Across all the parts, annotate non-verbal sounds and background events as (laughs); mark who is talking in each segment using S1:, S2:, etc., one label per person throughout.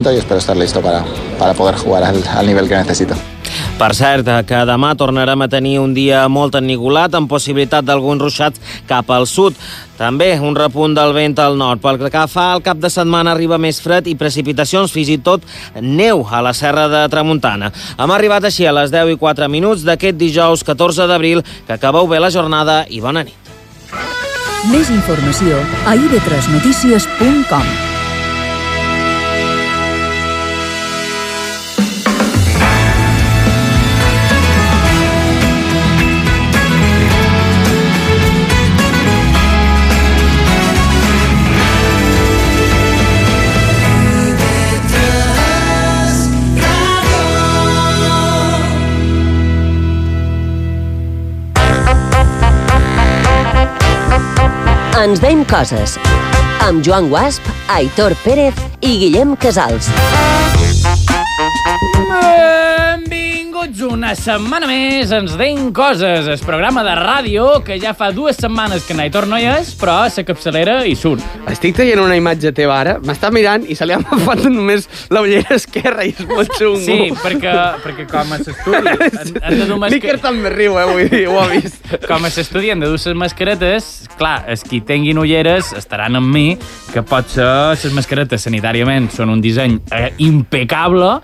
S1: y espero estar listo para, para poder jugar al, al nivel que necesito.
S2: Per cert, que demà tornarem a tenir un dia molt ennigolat, amb possibilitat d'alguns ruixats cap al sud. També un repunt del vent al nord. Pel que fa al cap de setmana arriba més fred i precipitacions, fins i tot neu a la serra de Tramuntana. Hem arribat així a les 10 i 4 minuts d'aquest dijous 14 d'abril, que acabeu bé la jornada i bona nit.
S3: Més informació a ib3notícies.com.
S4: Ens veiem coses. Amb Joan Guasp, Aitor Pérez i Guillem Casals.
S5: Benvinguts una setmana més, ens deim coses, el programa de ràdio que ja fa dues setmanes que Naitor no hi és, però se capçalera i surt.
S6: Estic traient una imatge teva ara, m'està mirant i se li ha agafat només la ullera esquerra i és molt xungo.
S5: Sí, perquè,
S6: (laughs)
S5: perquè com a (laughs) s'estudi han de dur
S6: L'Iker
S5: mascaretes,
S6: també riu, eh, vull dir, ho ha vist.
S5: com a s'estudi han de dur ses mascaretes, clar, els qui tinguin ulleres estaran amb mi, que potser ses mascaretes sanitàriament són un disseny eh, impecable,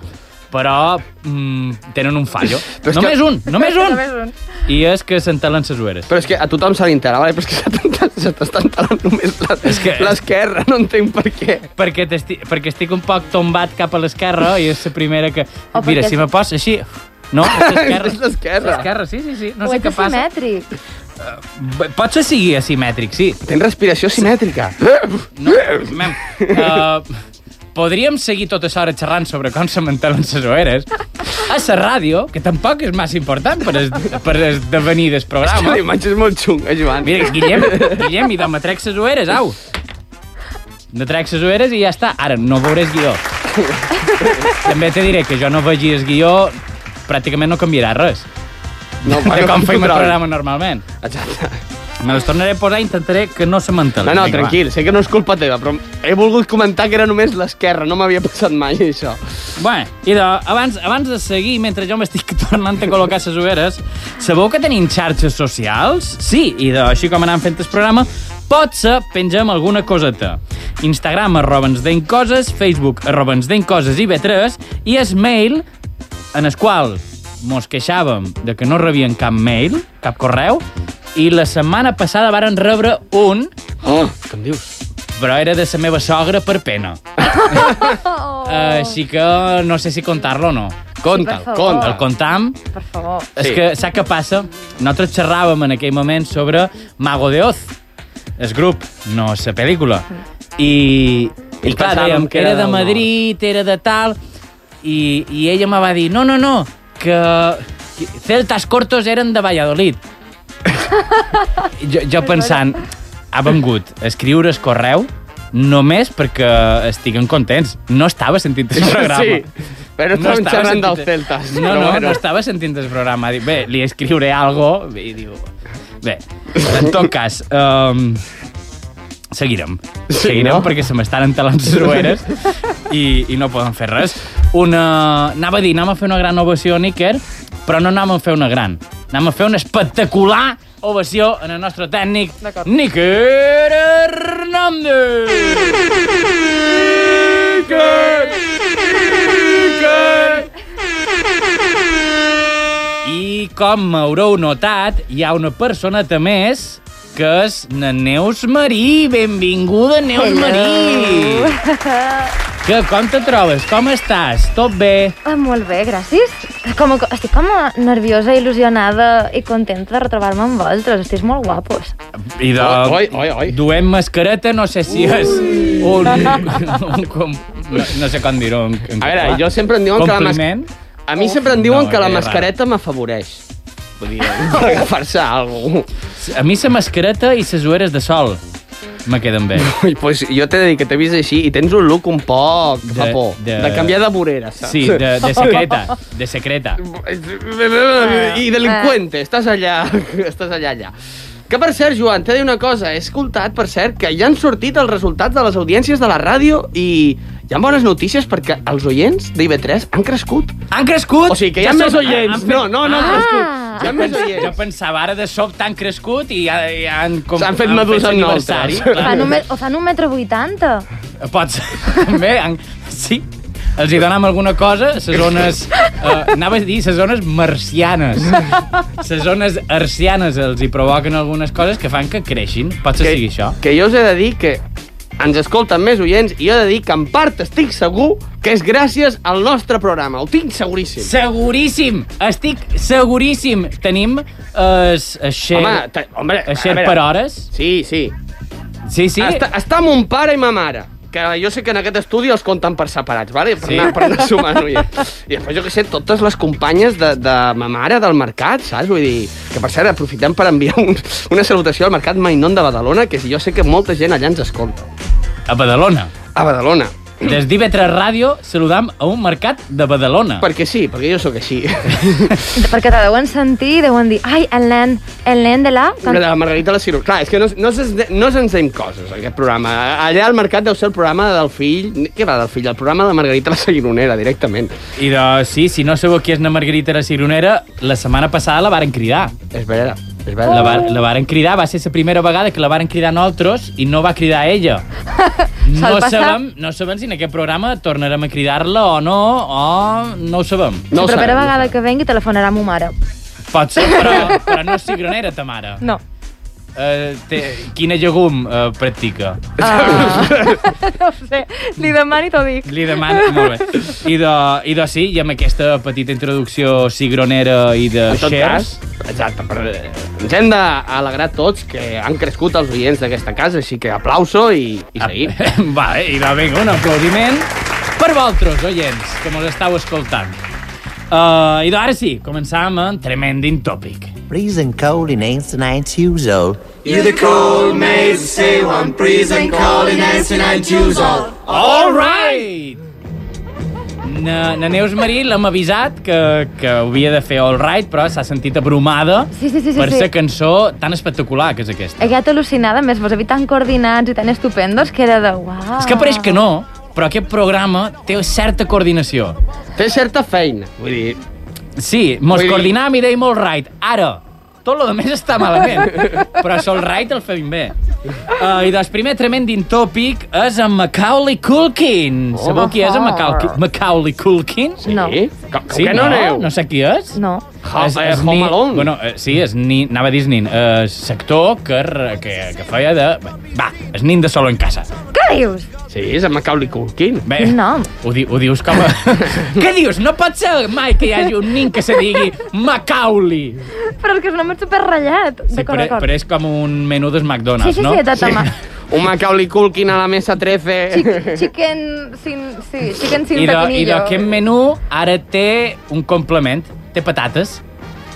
S5: però mm, tenen un fallo.
S6: Però és que-
S5: Només un, només
S6: (laughs)
S5: un!
S7: Només un.
S5: I és que s'entalen ses ulleres.
S6: Però és que a tothom se li entera, vale? però és que s'ha tentat- se t'estan talant només la-
S5: que-
S6: l'esquerra, no entenc per què.
S5: perquè, esti perquè estic un poc tombat cap a l'esquerra i és la primera que...
S7: O
S5: Mira,
S7: perquè-
S5: si me poses així... No, és
S6: (laughs)
S5: l'esquerra.
S6: És l'esquerra.
S5: l'esquerra, sí, sí, sí. No
S7: No
S5: sé
S7: sé
S5: què passa.
S7: asimètric.
S5: B- Potser sigui asimètric, sí.
S6: Tens respiració simètrica.
S5: No, mem, uh, podríem seguir tota l'hora xerrant sobre com se mantenen les oeres a la ràdio, que tampoc és massa important per, es, per esdevenir del
S6: La
S5: programa.
S6: imatge (laughs) és molt xunga, Joan.
S5: Mira, Guillem, Guillem, i demà trec ses oeres, au. De trec ses oeres i ja està. Ara, no veuràs guió. També te diré que jo no vegi el guió, pràcticament no canviarà res.
S6: no,
S5: De
S6: no,
S5: com feim el
S6: control.
S5: programa normalment.
S6: Exacte.
S5: Me les tornaré a posar i intentaré que no se m'entenen.
S6: No, no,
S5: Vinga, va.
S6: tranquil, sé que no és culpa teva, però he volgut comentar que era només l'esquerra, no m'havia passat mai això.
S5: Bé, idò, abans, abans de seguir, mentre jo m'estic (laughs) tornant a col·locar les ulleres, sabeu que tenim xarxes socials? Sí, i així com anem fent el programa, potser pengem alguna coseta. Instagram, arroba ens deim coses, Facebook, arroba ens deim coses i B3, i es mail en el qual mos queixàvem de que no rebien cap mail, cap correu, i la setmana passada varen rebre un,
S6: Oh, què em dius?
S5: però era de la meva sogra per pena. Eh, Així que no sé si contar-lo o no. Conta'l,
S7: per favor.
S5: conta'l. El contam,
S7: Per favor.
S5: és que sap què passa? Nosaltres xerràvem en aquell moment sobre Mago de Oz, el grup, no la pel·lícula. I, i
S6: Ells
S5: clar,
S6: pensàvem
S5: dèiem,
S6: que era
S5: era de
S6: del nord.
S5: Madrid, era de tal... I, i ella me va dir, no, no, no, que que Celtas Cortos eren de Valladolid. jo, jo pensant, ha vengut a escriure el correu només perquè estiguen contents. No estava sentint
S6: (laughs)
S5: el programa.
S6: Sí, però no estàvem xerrant
S5: sentint-
S6: dels Celtas.
S5: No,
S6: però
S5: no,
S6: bueno.
S5: no estava sentint el programa. Dic, bé, li escriuré algo i diu... Bé, en tot cas, um, seguirem.
S6: Sí,
S5: seguirem
S6: no?
S5: perquè se m'estan entelant les roeres i, i no poden fer res. Una... Anava a dir, anem a fer una gran ovació a Níker, però no anem a fer una gran. Anem a fer una espectacular ovació en el nostre tècnic,
S7: D'acord.
S5: Níker
S6: (laughs)
S5: Hernández. Níker! Níker! I com haureu notat, hi ha una personeta més que és na Neus Marí. Benvinguda, Neus Hello. Marí! Que com te trobes? Com estàs? Tot bé?
S7: Ah, molt bé, gràcies. Com, a- estic com a nerviosa, il·lusionada i contenta de retrobar-me amb vosaltres. Estic molt guapos.
S5: I de...
S6: Oi, oi, oi.
S5: Duem mascareta, no sé si és
S6: (laughs)
S5: un... un com... no, no sé com dir-ho. en- en
S6: A veure,
S5: català.
S6: jo sempre em diuen que la mas-
S5: Compliment?
S6: A mi sempre em diuen
S5: No,
S6: que la
S5: és raro.
S6: mascareta m'afavoreix. Vull dir, (laughs) per agafar-se a alguna cosa.
S5: A mi la mascareta i les ulleres de sol me queden bé.
S6: Pues jo t'he de dir que t'he vist així i tens un look un poc de,
S5: De-
S6: fa por.
S5: de-
S6: De... de canviar de vorera, saps?
S5: Sí, de, de secreta, de secreta.
S6: I delinqüente, estàs allà, (laughs) estàs allà, allà. Que, per cert, Joan, t'he de dir una cosa. He escoltat, per cert, que ja han sortit els resultats de les audiències de la ràdio i, hi ha bones notícies perquè els oients d'IV3 han crescut.
S5: Han crescut?
S6: O sigui, que hi ha
S5: Ja
S6: més
S5: són-
S6: oients.
S5: han fet-
S6: No, no, no han
S7: Ah!
S6: crescut. Hi ha més
S5: Doncs Jo
S6: oients.
S5: pensava, ara de sobte han crescut i ja, ja han... com-
S6: S'han fet
S5: han
S6: medusa amb
S5: aniversari,
S6: nosaltres.
S5: clar.
S7: Fan un, me- o fan un metro vuitanta.
S5: Pots, (laughs) també, han... sí. Els hi donam alguna cosa, ses zones... Eh, anava a dir, ses zones marcianes. Ses zones arcianes els hi provoquen algunes coses que fan que creixin. Potser sigui això.
S6: que jo us he de dir que ens escolten més oients i jo he de dir que en part estic segur que és gràcies al nostre programa. Ho tinc seguríssim.
S5: Seguríssim! Estic seguríssim! Tenim eh, s- a Xer,
S6: Home, te- hombre,
S5: a Xer
S6: a veure.
S5: per hores.
S6: Sí, sí.
S5: Sí, sí.
S6: sí. Està, està mon pare i ma mare que jo sé que en aquest estudi els compten per separats, vale? per,
S5: Sí.
S6: anar, per anar sumant ja. I després, jo que sé, totes les companyes de, de ma mare del mercat, saps? Vull dir, que per cert, aprofitem per enviar un, una salutació al mercat Mainón de Badalona, que jo sé que molta gent allà ens escolta.
S5: A Badalona.
S6: A Badalona.
S5: Des d'IV3 Ràdio saludam a un mercat de Badalona.
S6: Perquè sí, perquè jo sóc així.
S5: (laughs)
S7: Perquè te deuen sentir i deuen dir ai, el nen, el nen de la...
S6: Una de la Margarita la Cirurgia. Clar, és que no, no, se, no se'ns deim coses, aquest programa. Allà al mercat deu ser el programa del fill... Què va del fill? El programa de la Margarita la Seguironera, directament.
S5: I de, sí, si no sabeu qui és na Margarita la Cironera, la setmana passada la varen cridar.
S6: És vera, és vera.
S5: La, var, la varen cridar, va ser la primera vegada que la varen cridar nosaltres i no va cridar ella. No
S7: Sol passar.
S5: sabem, no sabem si en aquest programa tornarem a cridar-la o no, o no ho sabem.
S7: No
S6: ho
S7: la
S6: sabem,
S7: propera
S6: no ho
S7: vegada
S6: sabem.
S7: que vengui telefonarà a ma mare.
S5: Pot ser, però, però no és cigronera, ta mare.
S7: No.
S5: Uh, té, quina llegum uh, practica?
S7: Ah.
S5: (laughs)
S7: (laughs) no ho sé, li demani t'ho dic.
S5: Li demano, molt bé. I de, i de sí, i amb aquesta petita introducció cigronera i de
S6: En tot
S5: shares...
S6: cas, exacte, però eh, ens hem d'alegrar tots que han crescut els oients d'aquesta casa, així que aplauso i, i
S5: Ah, (laughs)
S6: seguim.
S5: Va, i va, vinga, un aplaudiment per vosaltres, oients, que mos estàu escoltant. Uh, I ara sí, començàvem amb Tremending Topic.
S8: Freezing cold in 1892 old.
S5: All right! Na, na Neus Marí l'hem avisat que, que ho havia de fer all right, però s'ha sentit abrumada
S7: Sí, sí, sí, sí,
S5: per
S7: sí.
S5: la cançó tan espectacular que és aquesta.
S7: Aquest al·lucinada, a més, vos havia tan coordinats i tan estupendos que era de uau.
S5: És que pareix que no, però aquest programa té certa coordinació.
S6: Té certa feina, vull dir...
S5: Sí, mos
S6: Vull dir-
S5: coordinam i dèiem all right. Ara, tot lo de més està malament, però sol right el fem bé. Uh, I doncs primer tremendin tòpic és en Macaulay Culkin. Oh, Sabeu qui és en Macaulay, Macaulay Culkin?
S7: Sí. No.
S6: Com, com sí, que no, aneu?
S5: no sé qui és.
S7: No.
S6: Ho- eh, Home
S5: Nin-
S6: Alone.
S5: Bueno, eh, sí, és Nin, anava a dir és Nin, eh, sector que, re- que, que feia de... Va, és Nin de solo en casa.
S7: Què dius?
S6: Sí, és en Macaulay Culkin.
S5: Bé,
S7: Quin nom?
S5: Ho, di, ho dius
S6: (laughs)
S5: com a... Què dius? No pot ser mai que hi hagi un nin que se digui Macaulay.
S7: Però és que és un home superratllat.
S5: Sí,
S7: D'acord,
S5: però,
S7: d'acord.
S5: però és com un menú dels
S7: Sí,
S5: McDonald's,
S7: sí,
S5: no?
S7: sí, de
S5: (laughs)
S7: tota tama.
S6: Un Macaulay Culkin a la mesa 13.
S7: Chi- Chicken sin... Sí, chicken sin
S5: I, de, I
S7: pepinillo.
S5: d'aquest menú ara té un complement, té patates,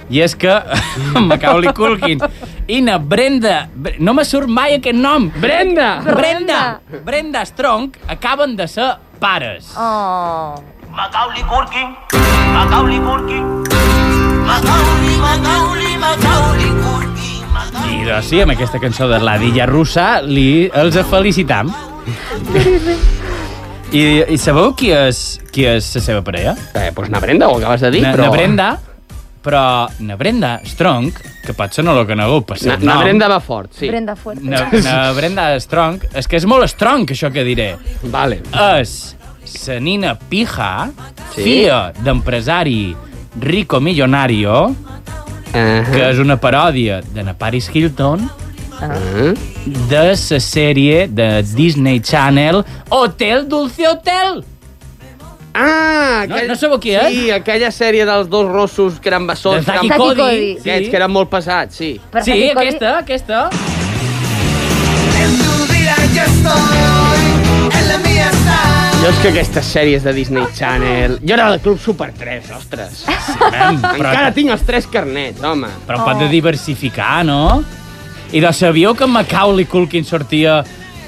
S5: i és que (laughs) Macaulay Culkin i na Brenda... Bre- No me surt mai aquest nom!
S6: Brenda!
S5: Brenda! Brenda Strong acaben de ser pares.
S7: Oh.
S9: Macaulay Culkin, Macaulay Culkin, Macaulay, Macaulay, Macaulay Culkin, Macaulay.
S5: I doncs sí, amb aquesta cançó de la Dilla Russa li, els felicitam. I, I sabeu qui és, qui és la seva parella?
S6: Eh, doncs na Brenda, ho acabes de dir,
S5: na,
S6: però...
S5: na Brenda, però na Brenda Strong, que potser no la conegueu per
S6: Na,
S5: ser
S6: na Brenda va fort, sí.
S7: Brenda Fuerte.
S5: Na, na Brenda Strong, és que és molt strong, això que diré.
S6: Vale.
S5: És la nina Pija,
S6: Sí.
S5: filla d'empresari rico millonario,
S6: Uh
S5: que és una paròdia de na Paris Hilton,
S6: Ah.
S5: de la sèrie de Disney Channel Hotel Dulce Hotel.
S6: Ah,
S5: No- no sabeu qui és?
S6: Sí, aquella sèrie dels dos rossos que eren bessons,
S5: Dels
S6: que,
S5: Taki
S6: eren...
S7: Taki
S5: Cody.
S7: Cody.
S5: Sí,
S6: Aquests que eren molt pesats, sí.
S7: Però
S5: sí
S7: Fatih Kochi-
S5: aquesta, aquesta.
S9: En tu vida yo estoy, en la mía estás.
S6: Jo és que aquestes sèries de Disney Channel... Jo era del Club Super 3, ostres.
S5: Mem, Ah, però,
S6: Encara tinc els tres carnets, home.
S5: però pot de diversificar, no? I doncs sabíeu que Macaulay Culkin sortia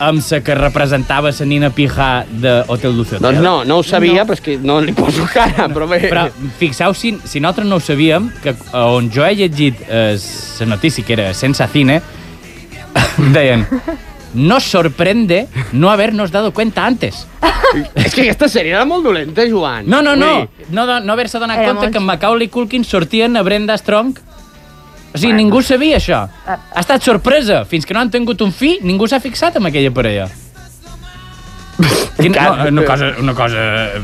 S5: amb la que representava la nina Pija de Hotel Dulce Hotel?
S6: Doncs no, no ho sabia, no. però és que no li poso cara, però bé...
S5: Però fixeu, si, si nosaltres no ho sabíem, que eh, on jo he llegit eh, la notícia, que era sense cine, (laughs) deien Nos sorprende no habernos dado cuenta antes.
S6: És que aquesta sèrie era molt dolenta, Joan.
S5: No, no, no.
S6: Vull dir,
S5: No, do- no haver-se donat
S7: Era
S5: compte
S7: molt-
S5: que en Macaulay Culkin sortien a Brenda Strong. O sigui, ningú sabia això.
S7: Ah.
S5: Ha estat sorpresa. Fins que no han tingut un fill, ningú s'ha fixat en aquella parella. Quina, no, una cosa, una cosa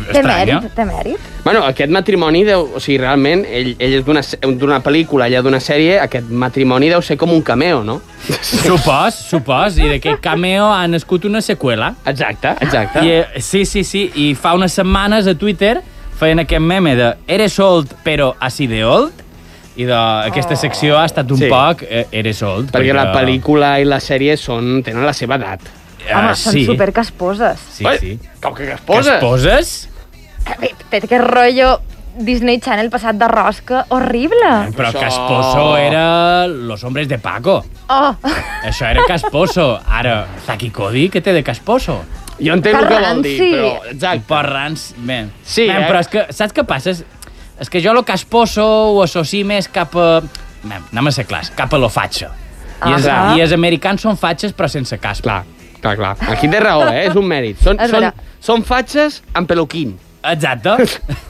S7: Té
S5: estranya.
S7: mèrit, té mèrit.
S6: Bueno, aquest matrimoni deu... O sigui, realment, ell, ell és d'una se- d'una pel·lícula, ella d'una sèrie, aquest matrimoni deu ser com un cameo,
S5: (laughs)
S6: no?
S5: Supos, supos. I d'aquest cameo ha nascut una seqüela.
S6: Exacte, exacte.
S5: I, eh, sí, sí, sí. I fa unes setmanes a Twitter feien aquest meme de Eres old, però así de old. I de, aquesta secció ha estat un
S6: Sí.
S5: sí. poc eh, Eres old.
S6: Perquè la pel·lícula i la sèrie són, tenen la seva edat.
S5: Eh,
S7: Home, són supercasposes.
S5: Sí,
S6: Oi,
S5: sí.
S6: Com que es
S5: Que
S6: posa?
S5: es poses?
S7: Eh, Té aquest rotllo Disney Channel passat de rosca horrible.
S5: Però
S6: Això-
S5: Casposo era Los hombres de Paco.
S7: Oh,
S5: Això era Casposo. Ara, Zaki Cody, què té de Casposo?
S6: Jo entenc el que vol dir,
S7: Carranci.
S6: però...
S5: Ai,
S6: Exacte.
S5: Porrans... Ben.
S6: Sí,
S5: ben,
S6: eh?
S5: Però és que, saps què passa? És- És que jo lo Casposo ho associ més cap a... Ben, anem a ser clars, cap a lo fatxa. I, els,
S6: Ah.
S5: I els americans són fatxes però sense caspa.
S6: Clar, clar, clar. Aquí té raó, eh? És un mèrit. Són,
S7: És
S6: són,
S7: veritat.
S6: són fatxes amb peluquín.
S5: Exacte.
S6: (laughs)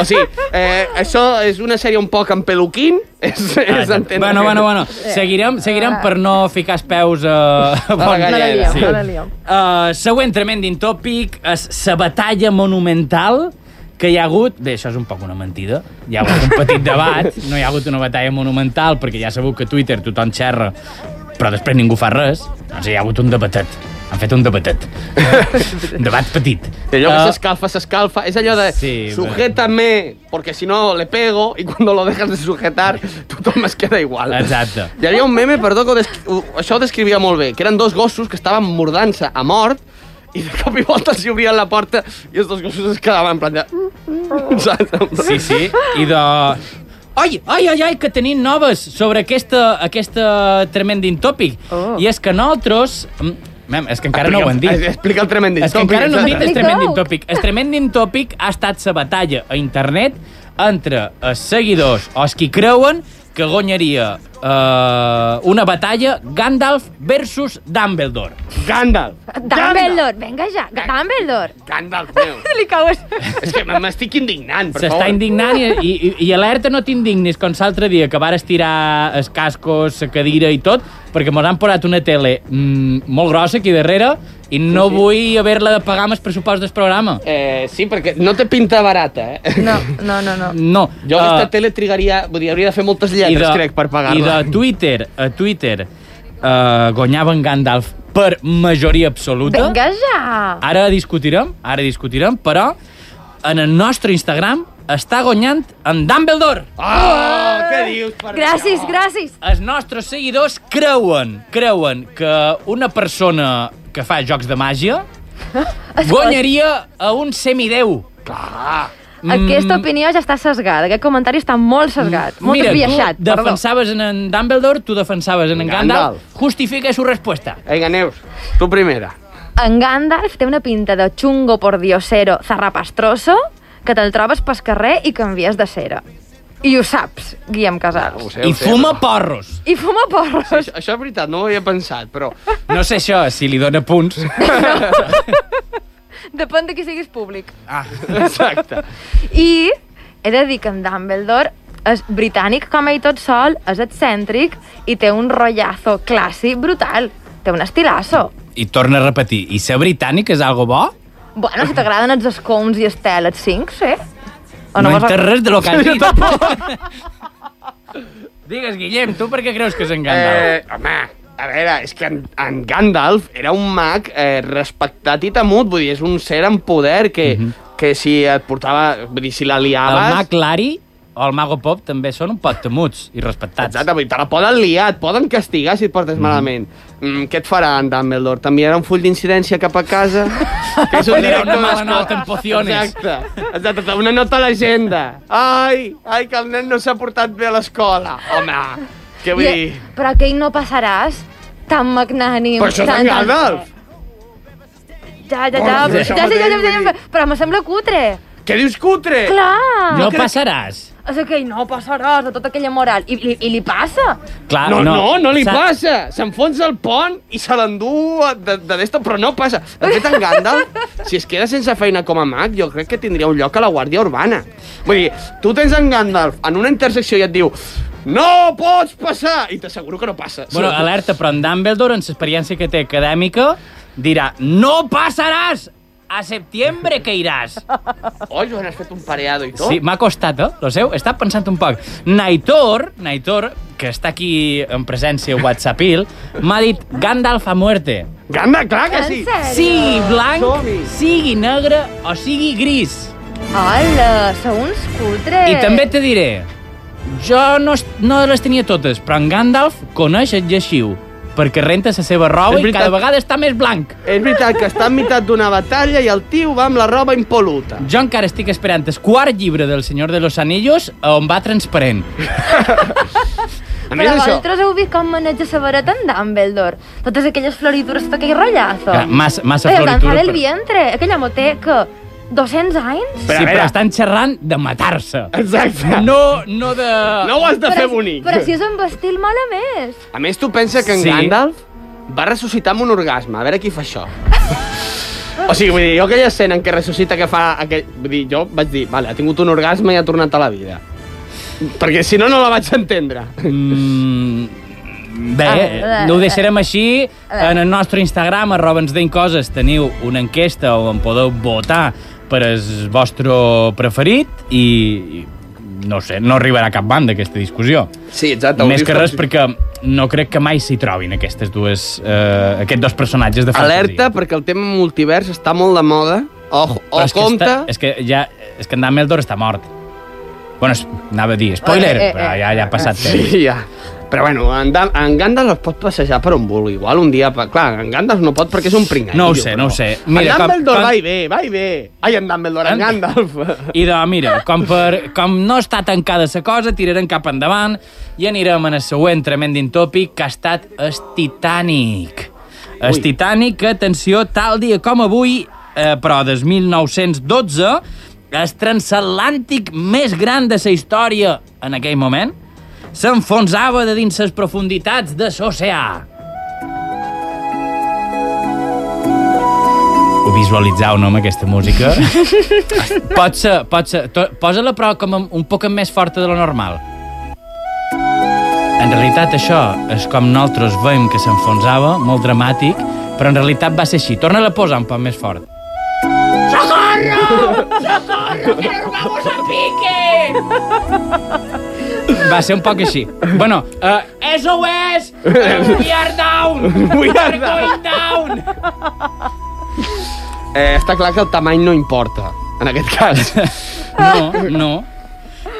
S6: O sigui, eh, això és una sèrie un poc amb peluquín. És, és entendre
S5: bueno,
S6: que-
S5: bueno, bueno. Seguirem, seguirem per no ficar els
S6: (laughs)
S5: peus eh, a... a
S6: la
S5: bon
S7: no la
S5: terra.
S6: galleda.
S7: liem,
S6: Sí.
S7: no la liem.
S5: Uh, següent tremending topic és la batalla monumental que hi ha hagut... Bé, això és un poc una mentida. Hi ha hagut un
S6: (laughs)
S5: petit debat, no hi ha hagut una batalla monumental, perquè ja sabeu que a Twitter tothom xerra, però després ningú fa res. Doncs hi ha hagut un debatet. Han fet un
S6: (laughs)
S5: debatet. un debat petit.
S6: Allò que
S5: Eh,
S6: s'escalfa, s'escalfa. És allò de
S5: Sí,
S6: sujétame, porque si no le pego, y cuando lo dejas de sujetar, tothom es queda igual.
S5: Exacte.
S6: Hi havia un meme, perdó, que ho descri- ho- això ho descrivia molt bé, que eren dos gossos que estaven mordant-se a mort, i de cop i volta s'hi obrien la porta i els dos gossos es quedaven en plan de... Saps?
S5: Sí, sí, i de... Ai, ai, ai, ai, que tenim noves sobre aquesta, aquesta tremending topic.
S7: Oh.
S5: I és que nosaltres... mm, Mem, és que encara no ho hem dit.
S6: Explica el tremending.
S5: És que encara no hem dit el
S7: Explica-ho.
S5: tremending topic. El tremending topic ha estat la batalla a internet entre els seguidors o els qui creuen que guanyaria eh, una batalla Gandalf versus Dumbledore.
S6: Gandalf.
S7: Dumbledore, vinga ja, Dumbledore. (laughs)
S6: Gandalf, meu.
S7: Li caues.
S6: És que m'estic indignant, per favor.
S5: S'està indignant i, i, i, i alerta no t'indignis com l'altre dia que vares tirar els cascos, la cadira i tot perquè mos han posat una tele mm, molt grossa aquí darrere i no vull haver-la de pagar amb el pressupost del programa.
S6: Eh, sí, perquè no té pinta barata, eh?
S7: No, no, no, no.
S5: No.
S6: Jo aquesta
S5: eh,
S6: tele trigaria... Vull dir, hauria de fer moltes
S5: I
S6: lletres, crec, per pagar-la.
S5: I de Twitter a Twitter uh, guanyaven Gandalf per majoria absoluta.
S7: Vinga ja.
S5: Ara discutirem, ara discutirem, però en el nostre Instagram està guanyant en Dumbledore.
S6: Oh, què dius? Per
S7: Gràcies, gràcies.
S5: Els nostres seguidors creuen, creuen que una persona que fa jocs de màgia
S7: (laughs)
S5: guanyaria a un semideu. Mm.
S7: Aquesta opinió ja està sesgada, aquest comentari està molt sesgat, molt
S5: Mira,
S7: esbiaixat,
S5: tu
S7: perdó.
S5: defensaves en, en Dumbledore, tu defensaves en, en Gandalf.
S6: Gandalf.
S5: Justifica su respuesta.
S6: Vinga, Neus, tu primera.
S7: En Gandalf té una pinta de xungo por diosero zarrapastroso que te'l trobes pel carrer i canvies de cera. I ho saps, Guillem
S6: Ah, Ho
S7: Casals.
S6: sé, ho
S5: I
S6: sé,
S5: fuma
S6: però-
S5: porros.
S7: I fuma porros.
S6: Això, això és veritat, no ho havia pensat, però...
S5: No sé això, si li dóna punts.
S7: Depèn de qui siguis públic.
S5: Ah.
S6: (laughs) Exacte.
S7: I he de dir que en Dumbledore és britànic com ell tot sol, és excèntric i té un rotllazo clàssic brutal. Té un estilasso.
S5: (laughs) I torna a repetir, i ser britànic és algo bo?
S7: Bueno, si t'agraden els escons i estel, els cinc, sí. O
S5: no
S7: vols-
S5: entès res de lo que has dit. (laughs) Digues, Guillem, tu per què creus que és en Gandalf?
S6: Eh, home, a veure, és que en, en Gandalf era un mag eh, respectat i temut, vull dir, és un ser amb poder que, que si et portava... Vull dir, si la
S5: Mhm. el
S6: liaves...
S5: mag Lari o el mago Pop també són un pot temuts i respectats.
S6: Exacte, vull dir, te la poden liar, et poden castigar si et portes malament. Mm, què et farà en Dumbledore? T'enviarà un full d'incidència cap a casa? que és
S5: Te dirà una mala
S6: d'escola.
S5: nota en pociones.
S6: Exacte, exacte, una nota a l'agenda. Ai, ai, que el nen no s'ha portat bé a l'escola. Home, què vull
S7: I-
S6: dir?
S7: Però que ell no passaràs tan magnànim.
S6: Però això és
S7: tan,
S6: en
S7: tan-
S6: Gandalf.
S7: Ja, ja, ja.
S6: Bueno,
S7: Però,
S6: això
S7: ja, ja, ja, ja,
S6: mateix,
S7: ja, ja, però me sembla cutre.
S6: Què dius, cutre?
S7: Clar.
S5: No passaràs.
S7: és aquell, no passaràs, de tota aquella moral. I, li, i li passa.
S5: Clar,
S6: No, no, no, li
S5: Ah, Sa-
S6: passa. S'enfonsa el pont i se l'endú de, de d'esto, però no passa. De fet, en Gandalf, si es queda sense feina com a mag, jo crec que tindria un lloc a la Guàrdia Urbana. Vull dir, tu tens en Gandalf en una intersecció i et diu no pots passar! I t'asseguro que no passa.
S5: Bueno, alerta, però en Dumbledore, amb l'experiència que té acadèmica, dirà no passaràs! A setembre que iràs.
S6: Oh, Joan, has fet un pareado i tot?
S5: Sí, m'ha costat, eh? Lo seu, està pensant un poc. Naitor, Naitor, que està aquí en presència WhatsAppil, m'ha dit Gandalf a muerte.
S6: Gandalf, clar que sí!
S7: En sèrio?
S5: Sigui blanc,
S6: Som-hi.
S5: sigui negre o sigui gris.
S7: Hola, sou uns cutres.
S5: I també te diré, jo no, es- no les tenia totes, però en Gandalf coneix el lleixiu, perquè renta la seva roba
S6: És
S5: i
S6: veritat.
S5: cada vegada està més blanc.
S6: És veritat que està en meitat d'una batalla i el tio va amb la roba impoluta.
S5: Jo encara estic esperant el quart llibre del Senyor de los Anillos on va transparent.
S6: A més
S7: Però
S6: d'això...
S7: vosaltres heu vist com maneja la vareta en Dumbledore. Totes aquelles floritures, tot aquell rotllazo.
S5: Clar, massa- massa
S7: Oye, el
S5: floritura,
S7: Danzar del
S5: però-
S7: vientre, aquella moteca. 200 anys?
S5: Però, sí, però estan xerrant de matar-se.
S6: Exacte.
S5: No, no de...
S6: No ho has de fer
S7: si-
S6: bonic.
S7: Però si és un vestit mal a més.
S6: A més, tu pensa que en
S5: Sí.
S6: sí. Gandalf va ressuscitar amb un orgasme. A veure qui fa això. o sigui, vull dir, jo aquella escena en què ressuscita que fa... Aquell... Vull dir, jo vaig dir, vale, ha tingut un orgasme i ha tornat a la vida. Perquè si no, no la vaig entendre.
S5: Mm, bé,
S7: Ah,
S5: no ho deixarem així. En el nostre Instagram, arroba ens deim coses, teniu una enquesta on podeu votar per el vostre preferit i, i no sé, no arribarà a cap banda aquesta discussió.
S6: Sí, exacte.
S5: Més que res perquè no crec que mai s'hi trobin aquestes dues, eh, aquests dos personatges de fantasia.
S6: Alerta, perquè el tema multivers està molt de moda. Ojo, o
S5: Però és
S6: compte...
S5: Que està, és que ja... És que en Dumbledore està mort. Bueno, es, anava a dir, spoiler,
S7: Eh, eh, eh.
S5: però ja, ja ha passat temps.
S6: Sí, ja. Però bueno, en, Dan, en Gandalf es pot passejar per on vulgui. Igual un dia... Pa... Clar, en Gandalf no pot perquè és un pringat.
S5: No ho sé, no ho sé. Mira,
S6: Mira, en
S5: com-
S6: Dumbledore
S5: com-
S6: va i ve, va i ve. Ai, en Dumbledore, en
S5: En-
S6: (laughs) Gandalf.
S5: I de, mira, com, per, com no està tancada la cosa, tirarem cap endavant i anirem en el següent tremendin tòpic que ha estat el Titanic. El Titanic, que, atenció, tal dia com avui, eh, però des 1912, el transatlàntic més gran de la història en aquell moment, s'enfonsava de dins les profunditats de l'oceà. Ho visualitzau, no, amb aquesta música? (laughs) pot ser, pot ser. To- Posa-la, però, com amb- un poc més forta de lo normal. En realitat, això és com nosaltres veiem que s'enfonsava, molt dramàtic, però en realitat va ser així. Torna-la a posar un poc més fort. ¡Socorro! ¡Socorro! ¡Que nos vamos a pique! Va ser un poc així. Bueno, uh, (laughs) SOS! We are down! (laughs)
S6: We are
S5: going down!
S6: Eh, està clar que el tamany no importa, en aquest cas.
S5: No, no.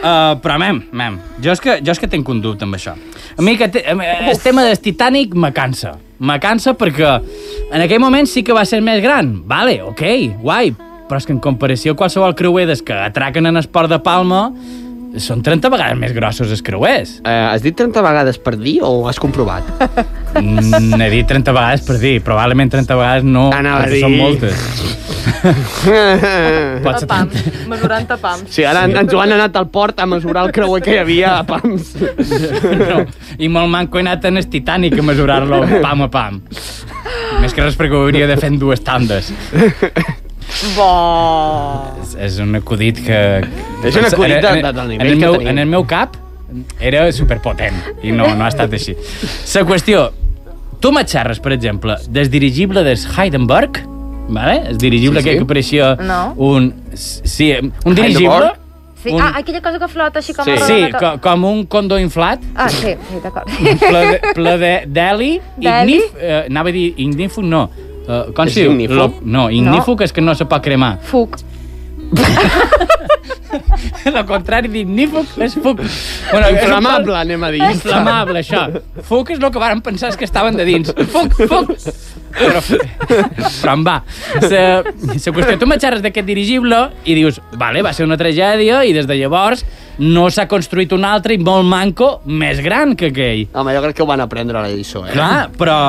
S5: Uh, però, mem, mem, jo és que, jo és que tinc un dubte amb això. A mi que te, a mi, el tema del Titanic me cansa. Me cansa perquè en aquell moment sí que va ser més gran. Vale, ok, guai, però és que en comparació a qualsevol creuer des que atraquen en Esport de Palma, són 30 vegades més grossos els (laughs) creuers.
S6: Eh, has dit 30 vegades per dir o ho has comprovat?
S5: Mm, he dit 30 vegades per dir, probablement 30 vegades Ah, no,
S6: Anava a
S5: perquè són
S6: dir.
S5: moltes. Pot ser
S7: Pam, mesurant a pams.
S6: (laughs) Sí, ara en en Joan ha anat al port a mesurar el creuer que hi havia a (laughs) Pams.
S5: no. I molt manco he anat en el Titanic a mesurar-lo pam a pam. Més que res perquè ho hauria de fer en dues tandes.
S7: Bo.
S5: És, és un acudit que...
S6: És un acudit de- de-
S5: en
S6: del nivell
S5: el
S6: que
S5: meu,
S6: tenim.
S5: En el meu cap era superpotent i no, no ha estat així. La qüestió, tu me xerres, per exemple, del dirigible des Heidenberg, vale? el dirigible
S6: Sí, sí.
S5: sí, sí. que apareixia
S7: No.
S5: un... Sí, un dirigible...
S6: Heidenberg?
S7: Sí,
S5: Un-
S7: ah, aquella cosa que flota així com...
S6: Sí.
S7: a roda
S5: Sí,
S7: de
S5: co- com un condó inflat,
S7: Ah, sí, sí d'acord.
S5: ple, de- ple de d'heli,
S7: D'heli?
S5: ignif, eh, anava a dir ignifo, no. Uh, com
S6: És
S5: si diu?
S6: ignífug?
S5: Lo- no, ignifo, que és que no se pot cremar.
S7: (laughs)
S5: (laughs)
S7: Fuc.
S5: Lo contrari d'ignífug és fuc. Bueno, és un
S6: Inflamable,
S5: pal-
S6: anem a dir.
S5: Inflamable, això. Fuc és el que varen pensar els que estaven de dins. Fuc, fuc. Però, (laughs) però en va. Se, se qüestió, tu m'atxarres d'aquest dirigible i dius, vale, va ser una tragèdia i des de llavors no s'ha construït un altre i molt manco més gran que aquell.
S6: Home, jo crec que ho van aprendre a la lliçó, eh?
S5: Clar, però...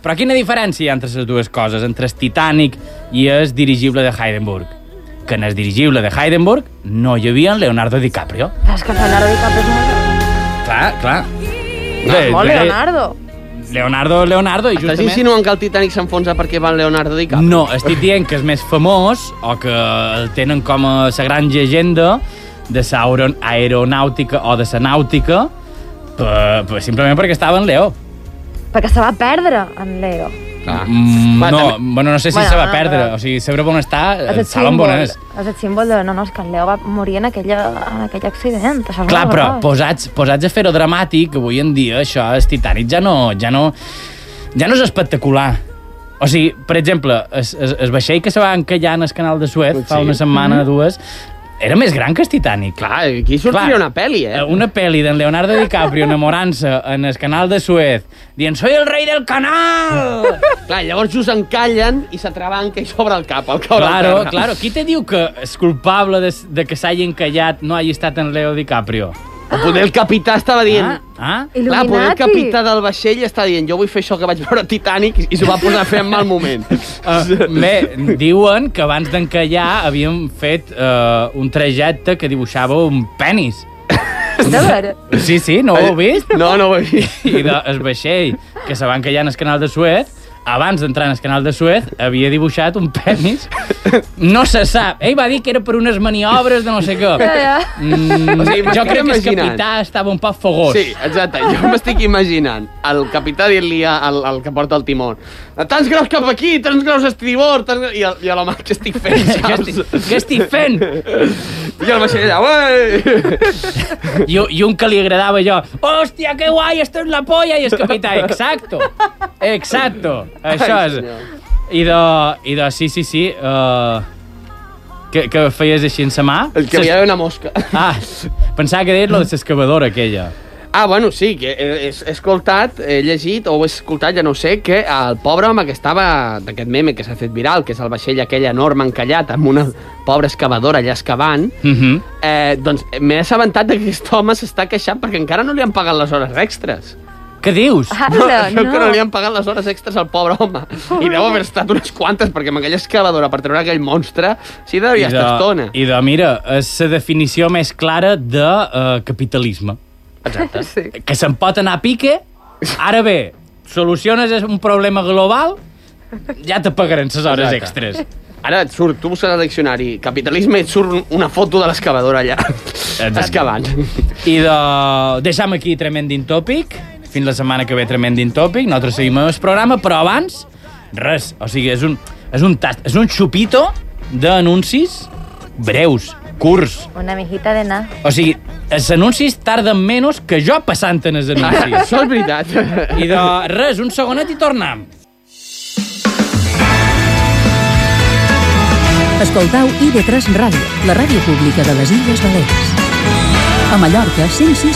S5: Però quina diferència hi ha entre les dues coses, entre el Titanic i el dirigible de Heidenberg? que en el dirigible de Heidenberg no hi havia en Leonardo DiCaprio.
S7: Però és que Leonardo DiCaprio és molt...
S5: Clar, clar.
S7: No, és molt Leonardo.
S5: Leonardo, Leonardo, i
S6: Estàs
S5: justament...
S6: insinuant que el Titanic s'enfonsa perquè va en Leonardo DiCaprio?
S5: No, estic dient que és més famós o que el tenen com a la gran llegenda de la aeron- aeronàutica o de la nàutica per, per, simplement perquè estava en Leo.
S7: Perquè se va perdre en Leo.
S6: Clar.
S5: Mm,
S6: Va,
S5: no,
S6: també-
S5: bueno, no sé si
S7: Bueno,
S5: se va
S7: no,
S5: perdre.
S7: però-
S5: O sigui, saber on està,
S7: És el,
S5: Eh, saben
S7: símbol,
S5: on és.
S7: és el símbol de... No, no, és que en Leo va morir en, aquella, en aquell accident. Això és
S5: Clar,
S7: molt
S5: però
S7: gros.
S5: posats, posats a fer-ho dramàtic, avui en dia això, el Titanic ja no, ja no, ja no és espectacular. O sigui, per exemple, es, es, es vaixell que se va encallar en el canal de Suez sí. fa
S6: Sí.
S5: una setmana o dues, era més gran que el Titanic.
S6: Clar, aquí sortiria
S5: Clar.
S6: una pel·li, eh?
S5: Una pel·li d'en Leonardo DiCaprio enamorant-se en el canal de Suez, dient «Soy el rei del canal!»
S6: (laughs) Clar, llavors just encallen i s'atrabanca i s'obre el cap. El cor al
S5: Claro,
S6: terra.
S5: claro. Qui te diu que és culpable de, de que s'hagi encallat no hagi estat en Leo DiCaprio?
S6: O Poder el capità estava dient...
S5: Ah? ah?
S6: Clar,
S7: Il·luminati.
S6: poder el capità del vaixell està dient jo vull fer això que vaig veure a Titanic i- i s'ho va posar a fer en mal
S5: (laughs)
S6: moment. (laughs)
S5: Uh, bé, diuen que abans d'encallar havien fet uh, un trajecte que dibuixava un penis.
S7: De veure,
S5: Sí, sí, (laughs) no ho heu
S6: (laughs)
S5: vist?
S6: No, no ho he vist.
S5: I de, el vaixell que se va encallar en el canal de Suez, abans d'entrar en el canal de Suez, havia dibuixat un penis. No se sap. Ell va dir que era per unes maniobres de no sé què.
S7: ja.
S5: Mm,
S6: O sigui,
S5: jo
S6: m'estic
S5: crec que el
S6: imaginant.
S5: capità estava un poc fogós.
S6: Sí, exacte. Jo m'estic imaginant el capità dient-li al, al que porta el timó tants graus cap aquí, tants graus a estribord, tants... graus-" I, el- i a l'home, què estic
S5: (laughs)
S6: fent,
S5: Què
S6: saps?
S5: estic, què estic fent?
S6: I el vaixell allà, ué!
S5: I, I un que li agradava jo, hòstia, que guai, esto es la polla, i el capità, exacto, exacto, això
S6: Ai,
S5: és.
S6: senyor.
S5: I de, i de sí, sí, sí, uh, que, que feies així en sa mà?
S6: El que havia d'haver una mosca.
S5: Ah, pensava que deies lo de l'excavadora aquella.
S6: Ah, bueno, sí, que he, he he escoltat, he llegit, o he escoltat, ja no ho sé, que el pobre home que estava, d'aquest meme que s'ha fet viral, que és el vaixell aquell enorme encallat amb una pobra excavadora allà excavant,
S5: Uh -huh.
S6: eh, doncs m'he assabentat de que aquest home s'està queixant perquè encara no li han pagat les hores extres.
S5: Què dius?
S7: Ara,
S6: Creu
S7: Ah, no.
S6: que no li han pagat les hores extres al pobre home. I deu haver estat unes quantes, perquè amb aquella excavadora per treure aquell monstre, sí devia estar estona.
S5: I de, mira, és la definició més clara de uh, capitalisme.
S6: Exacte.
S7: Sí.
S5: que se'n pot anar a pique, ara bé, soluciones un problema global, ja te pagaran les hores
S6: Exacte.
S5: extres.
S6: Ara et surt, tu busques al diccionari capitalisme i et surt una foto de l'excavadora allà,
S5: Exacte.
S6: excavant.
S5: I de... deixam aquí Tremendin Topic, fins la setmana que ve Tremendin Topic, nosaltres seguim amb el programa, però abans, res, o sigui, és un, és un tast, és un xupito d'anuncis breus, curts,
S7: Una mijita de na.
S5: o sigui, els anuncis tarden menys que jo passant en els anuncis.
S6: Això és veritat.
S5: I de res, un segonet i tornem.
S3: Escoltau ID3 Ràdio, la ràdio pública de les Illes Balears. A Mallorca, 106.1.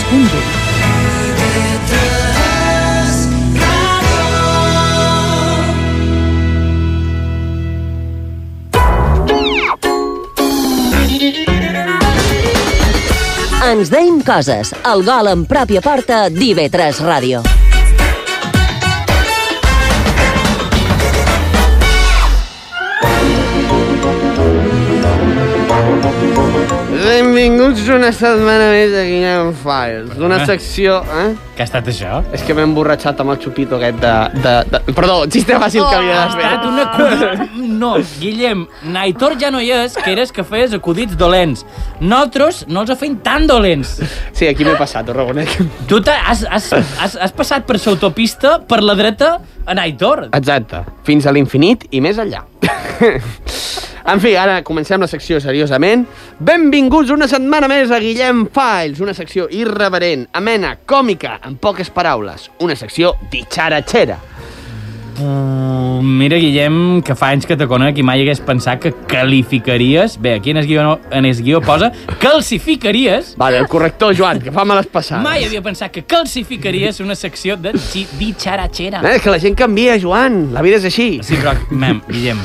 S4: Ens deim coses. El gol en pròpia porta d'IV3 Ràdio.
S6: (laughs) Benvinguts una setmana més a Guillem Files, d'una secció... Eh?
S5: Què ha estat això?
S6: És que m'he emborratxat amb el xupito aquest de... de, de... Perdó, el xiste fàcil que havia
S5: Oh, Ha
S6: de
S5: estat
S6: fer.
S5: un acudit... No, Guillem, Naitor ja no hi és, que eres que feies acudits dolents. Nosaltres no els ho feim tan dolents.
S6: Sí, aquí m'he passat, ho reconec.
S5: Tu t'ha- has, has, has, has passat per l'autopista, per la dreta, a Naitor.
S6: Exacte, fins a l'infinit i més enllà. (laughs) en fi, ara comencem la secció seriosament. Benvinguts una setmana més a Guillem Files, una secció irreverent, amena, còmica, en poques paraules, una secció bitxaratxera.
S5: Uh, mira, Guillem, que fa anys que te conec i mai hagués pensat que calificaries... Bé, aquí en el guió, no, en el guió posa calcificaries...
S6: Vale, el corrector Joan, que fa males passades.
S5: Mai havia pensat que calcificaries una secció de xi- ditxaratxera.
S6: Eh, és que la gent canvia, Joan, la vida és així.
S5: Sí, però, mem, Guillem,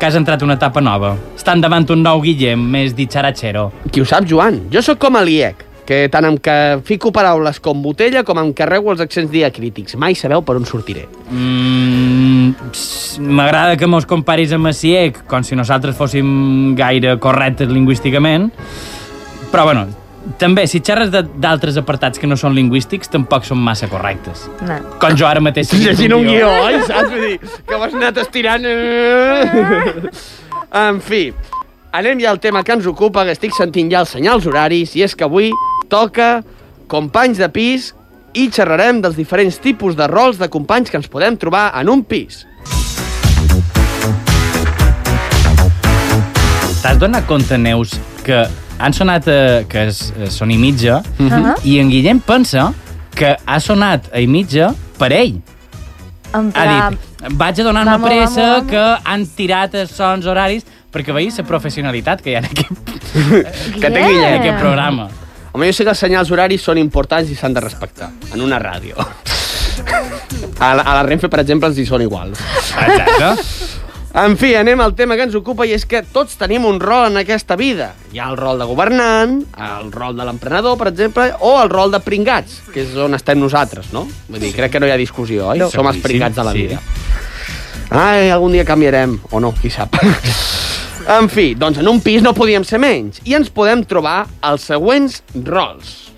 S5: que has entrat una etapa nova. Estan davant un nou Guillem, més ditxaratxero.
S6: Qui ho sap, Joan? Jo sóc com a l'IEC. que tant amb que fico paraules com botella com em carrego els accents diacrítics. Mai sabeu per on sortiré.
S5: Mm, ps, M'agrada que mos comparis amb Macier, com si nosaltres fóssim gaire correctes lingüísticament, però bueno, també, si xerres de- d'altres apartats que no són lingüístics, tampoc són massa correctes.
S7: No.
S5: Com jo ara mateix... si dic
S6: Llegint un guió, oi? Saps? Vull dir, que m'has anat estirant... eh? en fi, anem ja al tema que ens ocupa, que estic sentint ja els senyals horaris, i és que avui toca companys de pis i xerrarem dels diferents tipus de rols de companys que ens podem trobar en un pis.
S5: T'has donat compte, Neus, que han sonat a, que és, eh, són i mitja,
S7: Mhm.
S5: i en Guillem pensa que ha sonat a i mitja per ell.
S7: En
S5: Ha
S7: plan,
S5: dit, vaig a donar-me
S7: Vamos,
S5: pressa
S7: vamos, vamos.
S5: que han tirat els sons horaris perquè veïs la professionalitat que hi ha en aquest,
S6: Que té
S7: Guillem.
S5: en
S6: Guillem.
S5: aquest programa.
S6: Home, jo sé que els senyals horaris són importants i s'han de respectar, en una ràdio. A la, a la Renfe, per exemple, els hi són igual.
S5: Exacte.
S7: (laughs)
S6: En fi, anem al tema que ens ocupa i és que tots tenim un rol en aquesta vida. Hi ha el rol de governant, el rol de l'emprenedor, per exemple, o el rol de pringats, que és on estem nosaltres, no? Vull dir, crec que no hi ha discussió, oi?
S5: No.
S6: Som els
S5: Seguríssim,
S6: pringats de la
S5: sí.
S6: vida. Ai, algun dia canviarem, o no, qui sap. en fi, doncs en un pis no podíem ser menys i ens podem trobar els següents rols.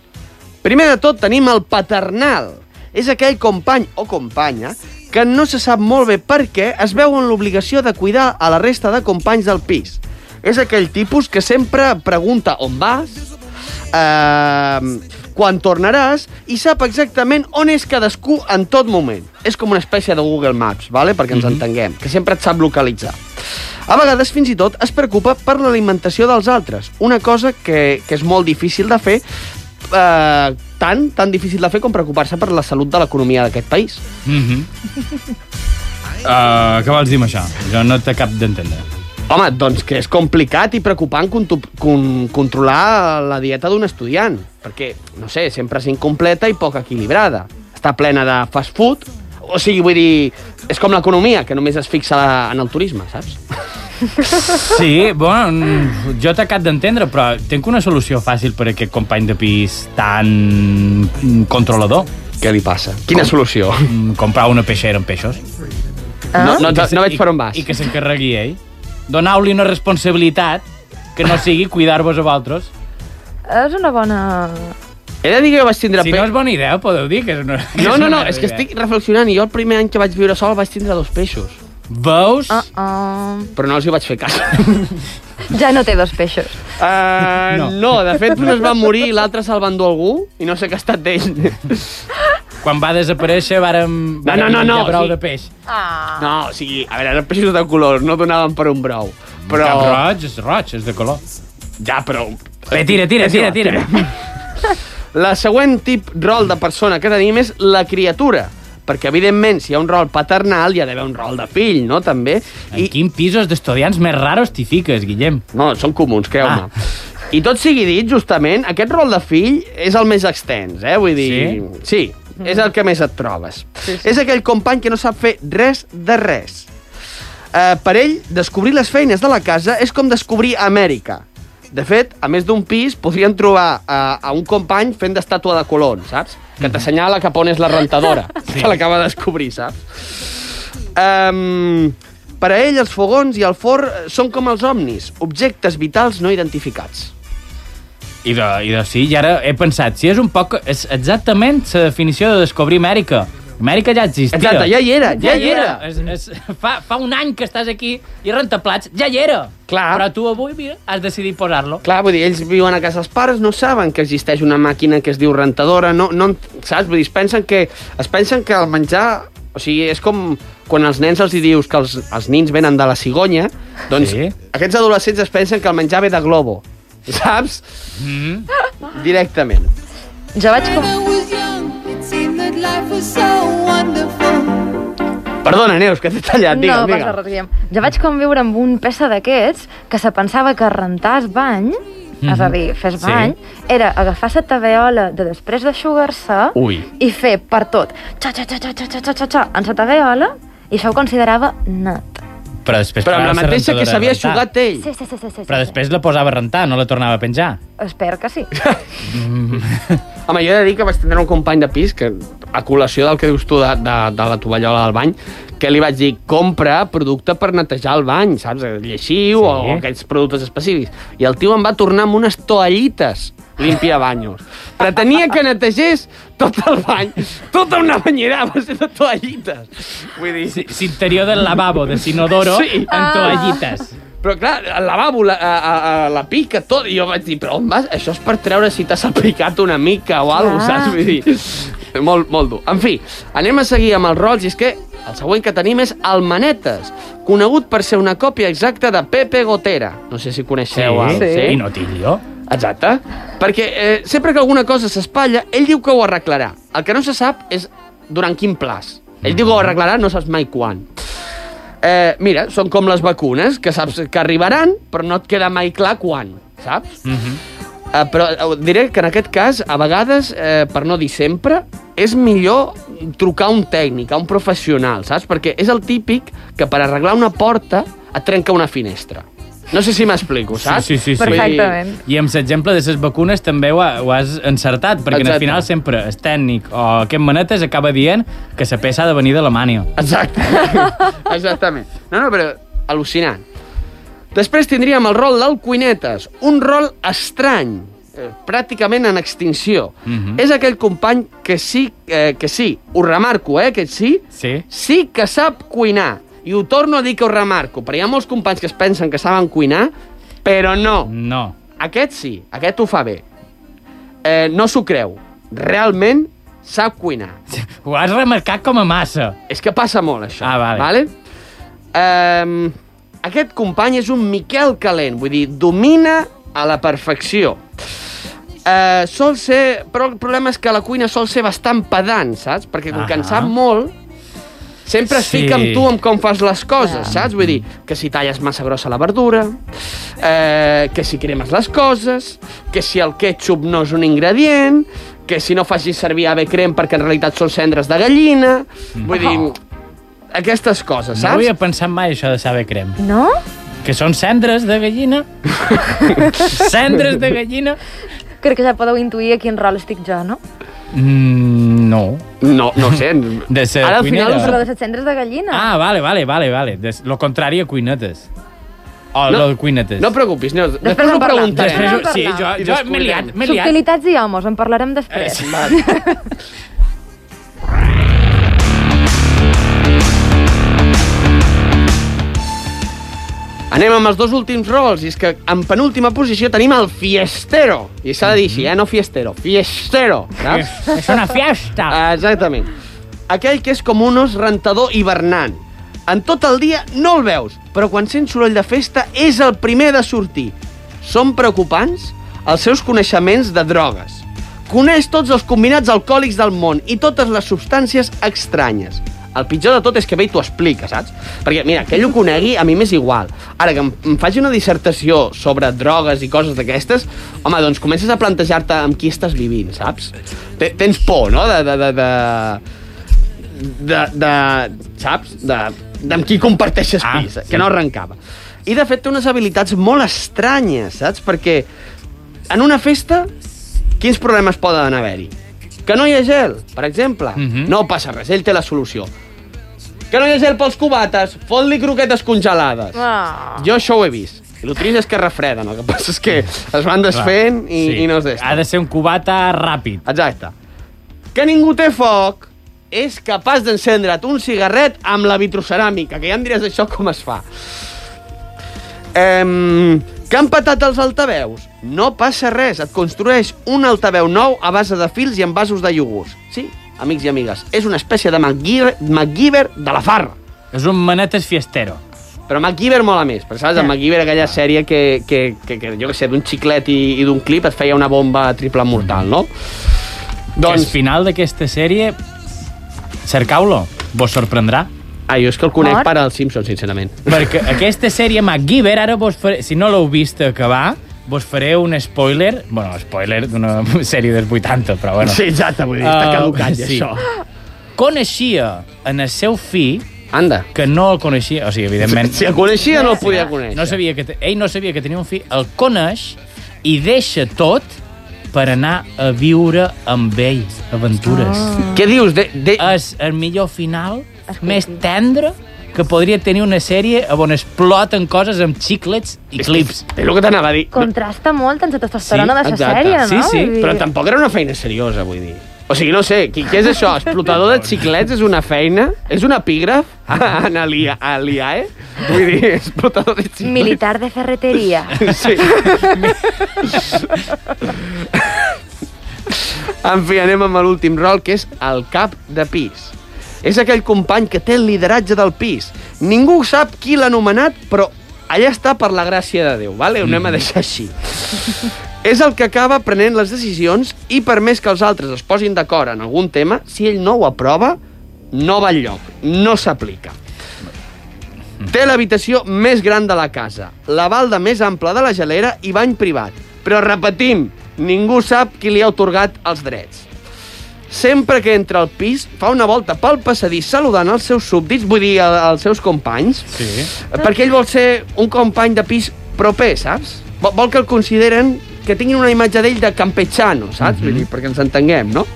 S6: Primer de tot tenim el paternal. És aquell company o companya que no se sap molt bé per què es veu en l'obligació de cuidar a la resta de companys del pis. És aquell tipus que sempre pregunta on vas, eh, quan tornaràs i sap exactament on és cadascú en tot moment. És com una espècie de Google Maps, vale? perquè ens mm -hmm. entenguem, que sempre et sap localitzar. A vegades, fins i tot, es preocupa per l'alimentació dels altres, una cosa que, que és molt difícil de fer, eh, tant, tan difícil de fer com preocupar-se per la salut de l'economia d'aquest país.
S5: Mhm. Eh, què vols dir amb això? Jo no t'he cap d'entendre.
S6: Home, doncs que és complicat i preocupant contu- con controlar la dieta d'un estudiant, perquè, no sé, sempre és incompleta i poc equilibrada. Està plena de fast food, o sigui, vull dir, és com l'economia, que només es fixa en el turisme, saps?
S5: Sí, bueno, mm, jo t'he cap d'entendre, però tinc una solució fàcil per a aquest company de pis tan mm, controlador.
S6: Què li passa? Quina solució?
S5: Mm, Comprar una peixera amb peixos.
S6: No, no,
S5: I
S6: no,
S5: que se-
S6: no veig
S5: i-
S6: per on vas.
S5: I que s'encarregui ell. Donau-li una responsabilitat que no sigui cuidar-vos a vosaltres.
S7: és una bona...
S6: He de dir que jo vaig tindre...
S5: Si
S6: pe-
S5: no és bona idea, podeu dir que és una... que
S6: no,
S5: és
S6: no, no,
S5: una
S6: és que
S5: idea.
S6: estic reflexionant i jo el primer any que vaig viure sol vaig tindre dos peixos,
S5: Veus?
S6: Ah.
S7: Uh -oh.
S6: però no els hi vaig fer
S5: (laughs)
S6: cas.
S7: Ja no té dos peixos.
S6: Uh,
S5: No.
S6: no. no, de fet, un es va morir i l'altre se'l va endur algú i no sé què ha estat d'ell.
S5: (laughs) Quan va desaparèixer, vàrem...
S6: No, no, no, no,
S5: brou
S6: sí.
S5: de peix.
S7: Ah.
S6: No, o sigui, a veure, eren peixos de colors, no donaven per un brou. Però...
S5: Però... Cap roig, és roig, és de color.
S6: Ja, però...
S5: Bé, tira, tira,
S6: És igual,
S5: tira, tira.
S6: La següent tip rol de persona que tenim és la criatura. Perquè, evidentment, si hi ha un rol paternal, hi ha d'haver un rol de fill, no?, també.
S5: En quin pisos d'estudiants més raros t'hi fiques, Guillem?
S6: No, són comuns, creu-me. Ah. I tot sigui dit, justament, aquest rol de fill és el més extens, eh? Vull dir... Sí? Sí, és el que més et trobes. Sí, sí. És aquell company que no sap fer res de res. Eh, per ell, descobrir les feines de la casa és com descobrir Amèrica. De fet, a més d'un pis, podrien trobar a, a un company fent d'estàtua de Colón, saps? Que t'assenyala cap on és la rentadora, Mhm. (laughs) sí. que l'acaba de descobrir, saps? Um, per a ell, els fogons i el forn eh, són com els omnis, objectes vitals no identificats.
S5: I de, i de sí, i ara he pensat, si és un poc... És exactament la definició de descobrir Amèrica. Amèrica ja existia.
S6: Exacte, ja hi era, ja, hi era.
S5: És, és, fa, fa un any que estàs aquí i rentaplats, ja hi era.
S6: Clar.
S5: Però tu avui mira, has decidit posar-lo.
S6: Clar, vull dir, ells viuen a casa dels pares, no saben que existeix una màquina que es diu rentadora, no, no, en- saps? Vull dir, es pensen que, es pensen que el menjar... O sigui, és com quan als nens els hi dius que els, els nins venen de la cigonya, doncs sí.
S5: Sí.
S6: aquests adolescents es pensen que el menjar ve de globo, saps? Mm. Directament.
S7: Jo vaig... Com...
S6: Perdona, Neus, que t'he tallat, digue'm,
S7: no, passa
S6: digue'm.
S7: res, Guillem. Jo vaig conviure amb un peça d'aquests que se pensava que rentar el bany, és a dir, fes
S5: Mhm. Sí.
S7: bany, era agafar la taveola de després d'aixugar-se
S5: Ui.
S7: i fer per tot, xa, xa, xa, xa, xa, xa, xa, xa, xa, en la taveola, i això ho considerava net.
S5: però després...
S6: Però amb la
S5: posava
S6: mateixa que
S5: rentadora
S6: s'havia
S5: a rentar.
S6: aixugat ell.
S7: Sí, sí, sí, sí, sí, sí.
S5: Però després la posava a rentar, no la tornava a penjar.
S7: Espero que
S5: (laughs)
S7: sí.
S6: Home, jo he de dir que vaig tindre un company de pis que, a col·lació del que dius tu de, de, de la tovallola del bany, que li vaig dir, compra producte per netejar el bany, saps? Eh, Lleixiu sí. o aquests productes específics. I el tio em va tornar amb unes toallites limpia banyos. Pretenia que netegés tot el bany, tota una banyera a base de toallites. Vull dir,
S5: Sí, S'interior del lavabo de Sinodoro
S6: Sí.
S5: sí. Ah. amb toallites.
S6: Però clar, el lavabo, la, a, a, a la pica, tot, i jo vaig dir, però on vas? Això és per treure si t'has aplicat una mica o alguna cosa, saps? Vull dir, molt, molt dur. En fi, anem a seguir amb els rols, i és que el següent que tenim és el Manetes, conegut per ser una còpia exacta de Pepe Gotera. No sé si coneixeu el...
S5: I no tinc jo.
S6: Exacte. Perquè eh, sempre que alguna cosa s'espatlla, ell diu que ho arreglarà. El que no se sap és durant quin plaç. Ell diu que ho arreglarà, no saps mai quan. Eh, mira, són com les vacunes, que saps que arribaran, però no et queda mai clar quan, saps? Mm
S5: Mhm.
S6: -hmm. eh, però eh, diré que en aquest cas, a vegades, eh, per no dir sempre, és millor trucar a un tècnic, a un professional, saps? Perquè és el típic que per arreglar una porta et trenca una finestra. No sé si m'explico, saps?
S5: sí, sí, sí.
S6: Vull dir-
S7: Perfectament.
S5: I amb l'exemple de les vacunes també ho, ha, ho has encertat, perquè Exacte.
S6: Exacte.
S5: al final sempre el tècnic o aquest manetes acaba dient que la peça ha de venir d'Alemanya. (laughs)
S6: Exacte. Exactament. No, no, però al·lucinant. Després tindríem el rol del cuinetes, un rol estrany, eh, pràcticament en extinció.
S5: Mhm.
S6: És aquell company que sí, eh, que sí, ho remarco, eh, que sí,
S5: Sí.
S6: sí que sap cuinar. I ho torno a dir que ho remarco, perquè hi ha molts companys que es pensen que saben cuinar, però no.
S5: No.
S6: Aquest sí, aquest ho fa bé. Eh, no s'ho creu. Realment sap cuinar.
S5: Ho has remarcat com a massa.
S6: És que passa molt, això.
S5: Ah, vale.
S6: vale? Um, aquest company és un Miquel Calent, vull dir, domina a la perfecció. Uh, sol ser... Però el problema és que la cuina sol ser bastant pedant, saps? Perquè com que en
S5: Ahà.
S6: sap molt, sempre es
S5: Sí.
S6: fica amb tu amb com fas les coses, saps? Vull dir, que si talles massa grossa la verdura, eh, que si cremes les coses, que si el ketchup no és un ingredient, que si no facis servir ave crem perquè en realitat són cendres de gallina... Vull dir, aquestes coses,
S5: No
S6: saps?
S5: havia pensat mai això de saber crem.
S7: No?
S5: Que són cendres de
S6: (laughs)
S5: gallina. cendres de gallina.
S7: Crec que ja podeu intuir a quin rol estic jo, no?
S5: Mm, no.
S6: No, no ho sé.
S5: De ser
S6: Ara al final...
S5: cuinera.
S6: us
S7: Però
S6: re-
S7: de set cendres de gallina.
S5: Ah, vale, vale, vale, vale. Des, lo contrari a cuinetes. O
S6: No.
S5: no, de cuinetes.
S6: No et preocupis, no. Després
S7: en
S6: ho
S7: parlem.
S6: preguntarem.
S5: Després,
S7: Anem a
S5: ho- sí, jo,
S7: parlar.
S6: I
S5: jo
S6: descuidem.
S5: m'he liat, m'he liat.
S7: Subtilitats i homes, en parlarem
S5: Eh,
S7: després.
S5: sí.
S6: Anem amb els dos últims rols, i és que en penúltima posició tenim el fiestero. I s'ha de dir així, eh? No fiestero, fiestero, saps?
S5: Eh, És una fiesta.
S6: Ah, Exactament. Aquell que és com un os rentador hivernant. En tot el dia no el veus, però quan sents soroll de festa és el primer de sortir. Són preocupants els seus coneixements de drogues. Coneix tots els combinats alcohòlics del món i totes les substàncies estranyes. El pitjor de tot és que ve i t'ho explica, saps? Perquè, mira, que ell ho conegui, a mi m'és igual. Ara, que em, em faci una dissertació sobre drogues i coses d'aquestes, home, doncs comences a plantejar-te amb qui estàs vivint, saps? Te- Tens por, no?, de... de, de, de de, de, saps? De, d'amb qui comparteixes
S5: Ah,
S6: pis,
S5: sí.
S6: que no arrencava. I, de fet, té unes habilitats molt estranyes, saps? Perquè en una festa, quins problemes poden haver-hi? Que no hi ha gel, per exemple.
S5: Mhm.
S6: No passa res, ell té la solució. Que no hi ha gel pels cubates, fot-li croquetes congelades.
S7: Ah.
S6: Jo això ho he vist. I el trist és que refreden, el que passa és que es van desfent i, i no es deixen.
S5: Ha de ser un cubata ràpid.
S6: Exacte. Que ningú té foc és capaç d'encendre't un cigarret amb la vitroceràmica, que ja em diràs això com es fa. Em... Que han patat els altaveus? No passa res, et construeix un altaveu nou a base de fils i amb vasos de iogurts. Sí, amics i amigues, és una espècie de MacGyver, MacGyver de la farra.
S5: És un manetes fiestero.
S6: Però MacGyver mola més, perquè saps, el MacGyver, aquella sèrie que, que, que, que jo què sé, d'un xiclet i, i d'un clip et feia una bomba triple mortal, no?
S5: Doncs... Que al final d'aquesta sèrie, cercau-lo, vos sorprendrà.
S6: Ah, jo és que el conec
S7: Mort?
S6: per als Simpsons, sincerament. (laughs)
S5: Perquè aquesta sèrie MacGyver, ara vos faré, si no l'heu vist acabar, vos faré un spoiler, bueno, spoiler d'una (laughs) sèrie dels 80, però bueno. Ah,
S6: exacte, vull
S5: Uh, sí. Coneixia en el seu fill
S6: Anda.
S5: que no el coneixia, o sigui, evidentment...
S6: Si el coneixia, no el podia conèixer.
S5: No sabia que te... Ell no sabia que tenia un fill, el coneix i deixa tot per anar a viure amb ell, aventures.
S6: Què dius? De, de...
S5: Ah. És el millor final, Escolti. més tendre, que podria tenir una sèrie on exploten coses amb xiclets i clips.
S6: És el que t'anava a dir.
S7: Contrasta molt amb la testosterona
S6: Sí,
S7: de la
S6: exacte.
S7: sèrie, no?
S5: Sí, sí,
S7: Vull dir-
S6: Però tampoc era una feina seriosa, vull dir. O sigui, no sé, qui, què és això? Explotador de xiclets és una feina? És un epígraf? (laughs) En Alia, Aliae? Vull dir, explotador de xiclets.
S7: Militar de ferreteria.
S6: (laughs) Sí. en fi, anem amb l'últim rol, que és el cap de pis. És aquell company que té el lideratge del pis. Ningú sap qui l'ha nomenat, però allà està per la gràcia de Déu, vale? Ho anem a deixar així. És el que acaba prenent les decisions i per més que els altres es posin d'acord en algun tema, si ell no ho aprova, no va enlloc, no s'aplica. Té l'habitació més gran de la casa, la balda més ampla de la gelera i bany privat. Però repetim, ningú sap qui li ha otorgat els drets. Sempre que entra al pis, fa una volta pel passadís saludant els seus súbdits, vull dir, a- als seus companys,
S5: Sí.
S6: perquè ell vol ser un company de pis proper, saps? Vol, vol que el consideren que tinguin una imatge d'ell de campechano, saps? Mm -hmm. Vull dir, perquè ens entenguem, no?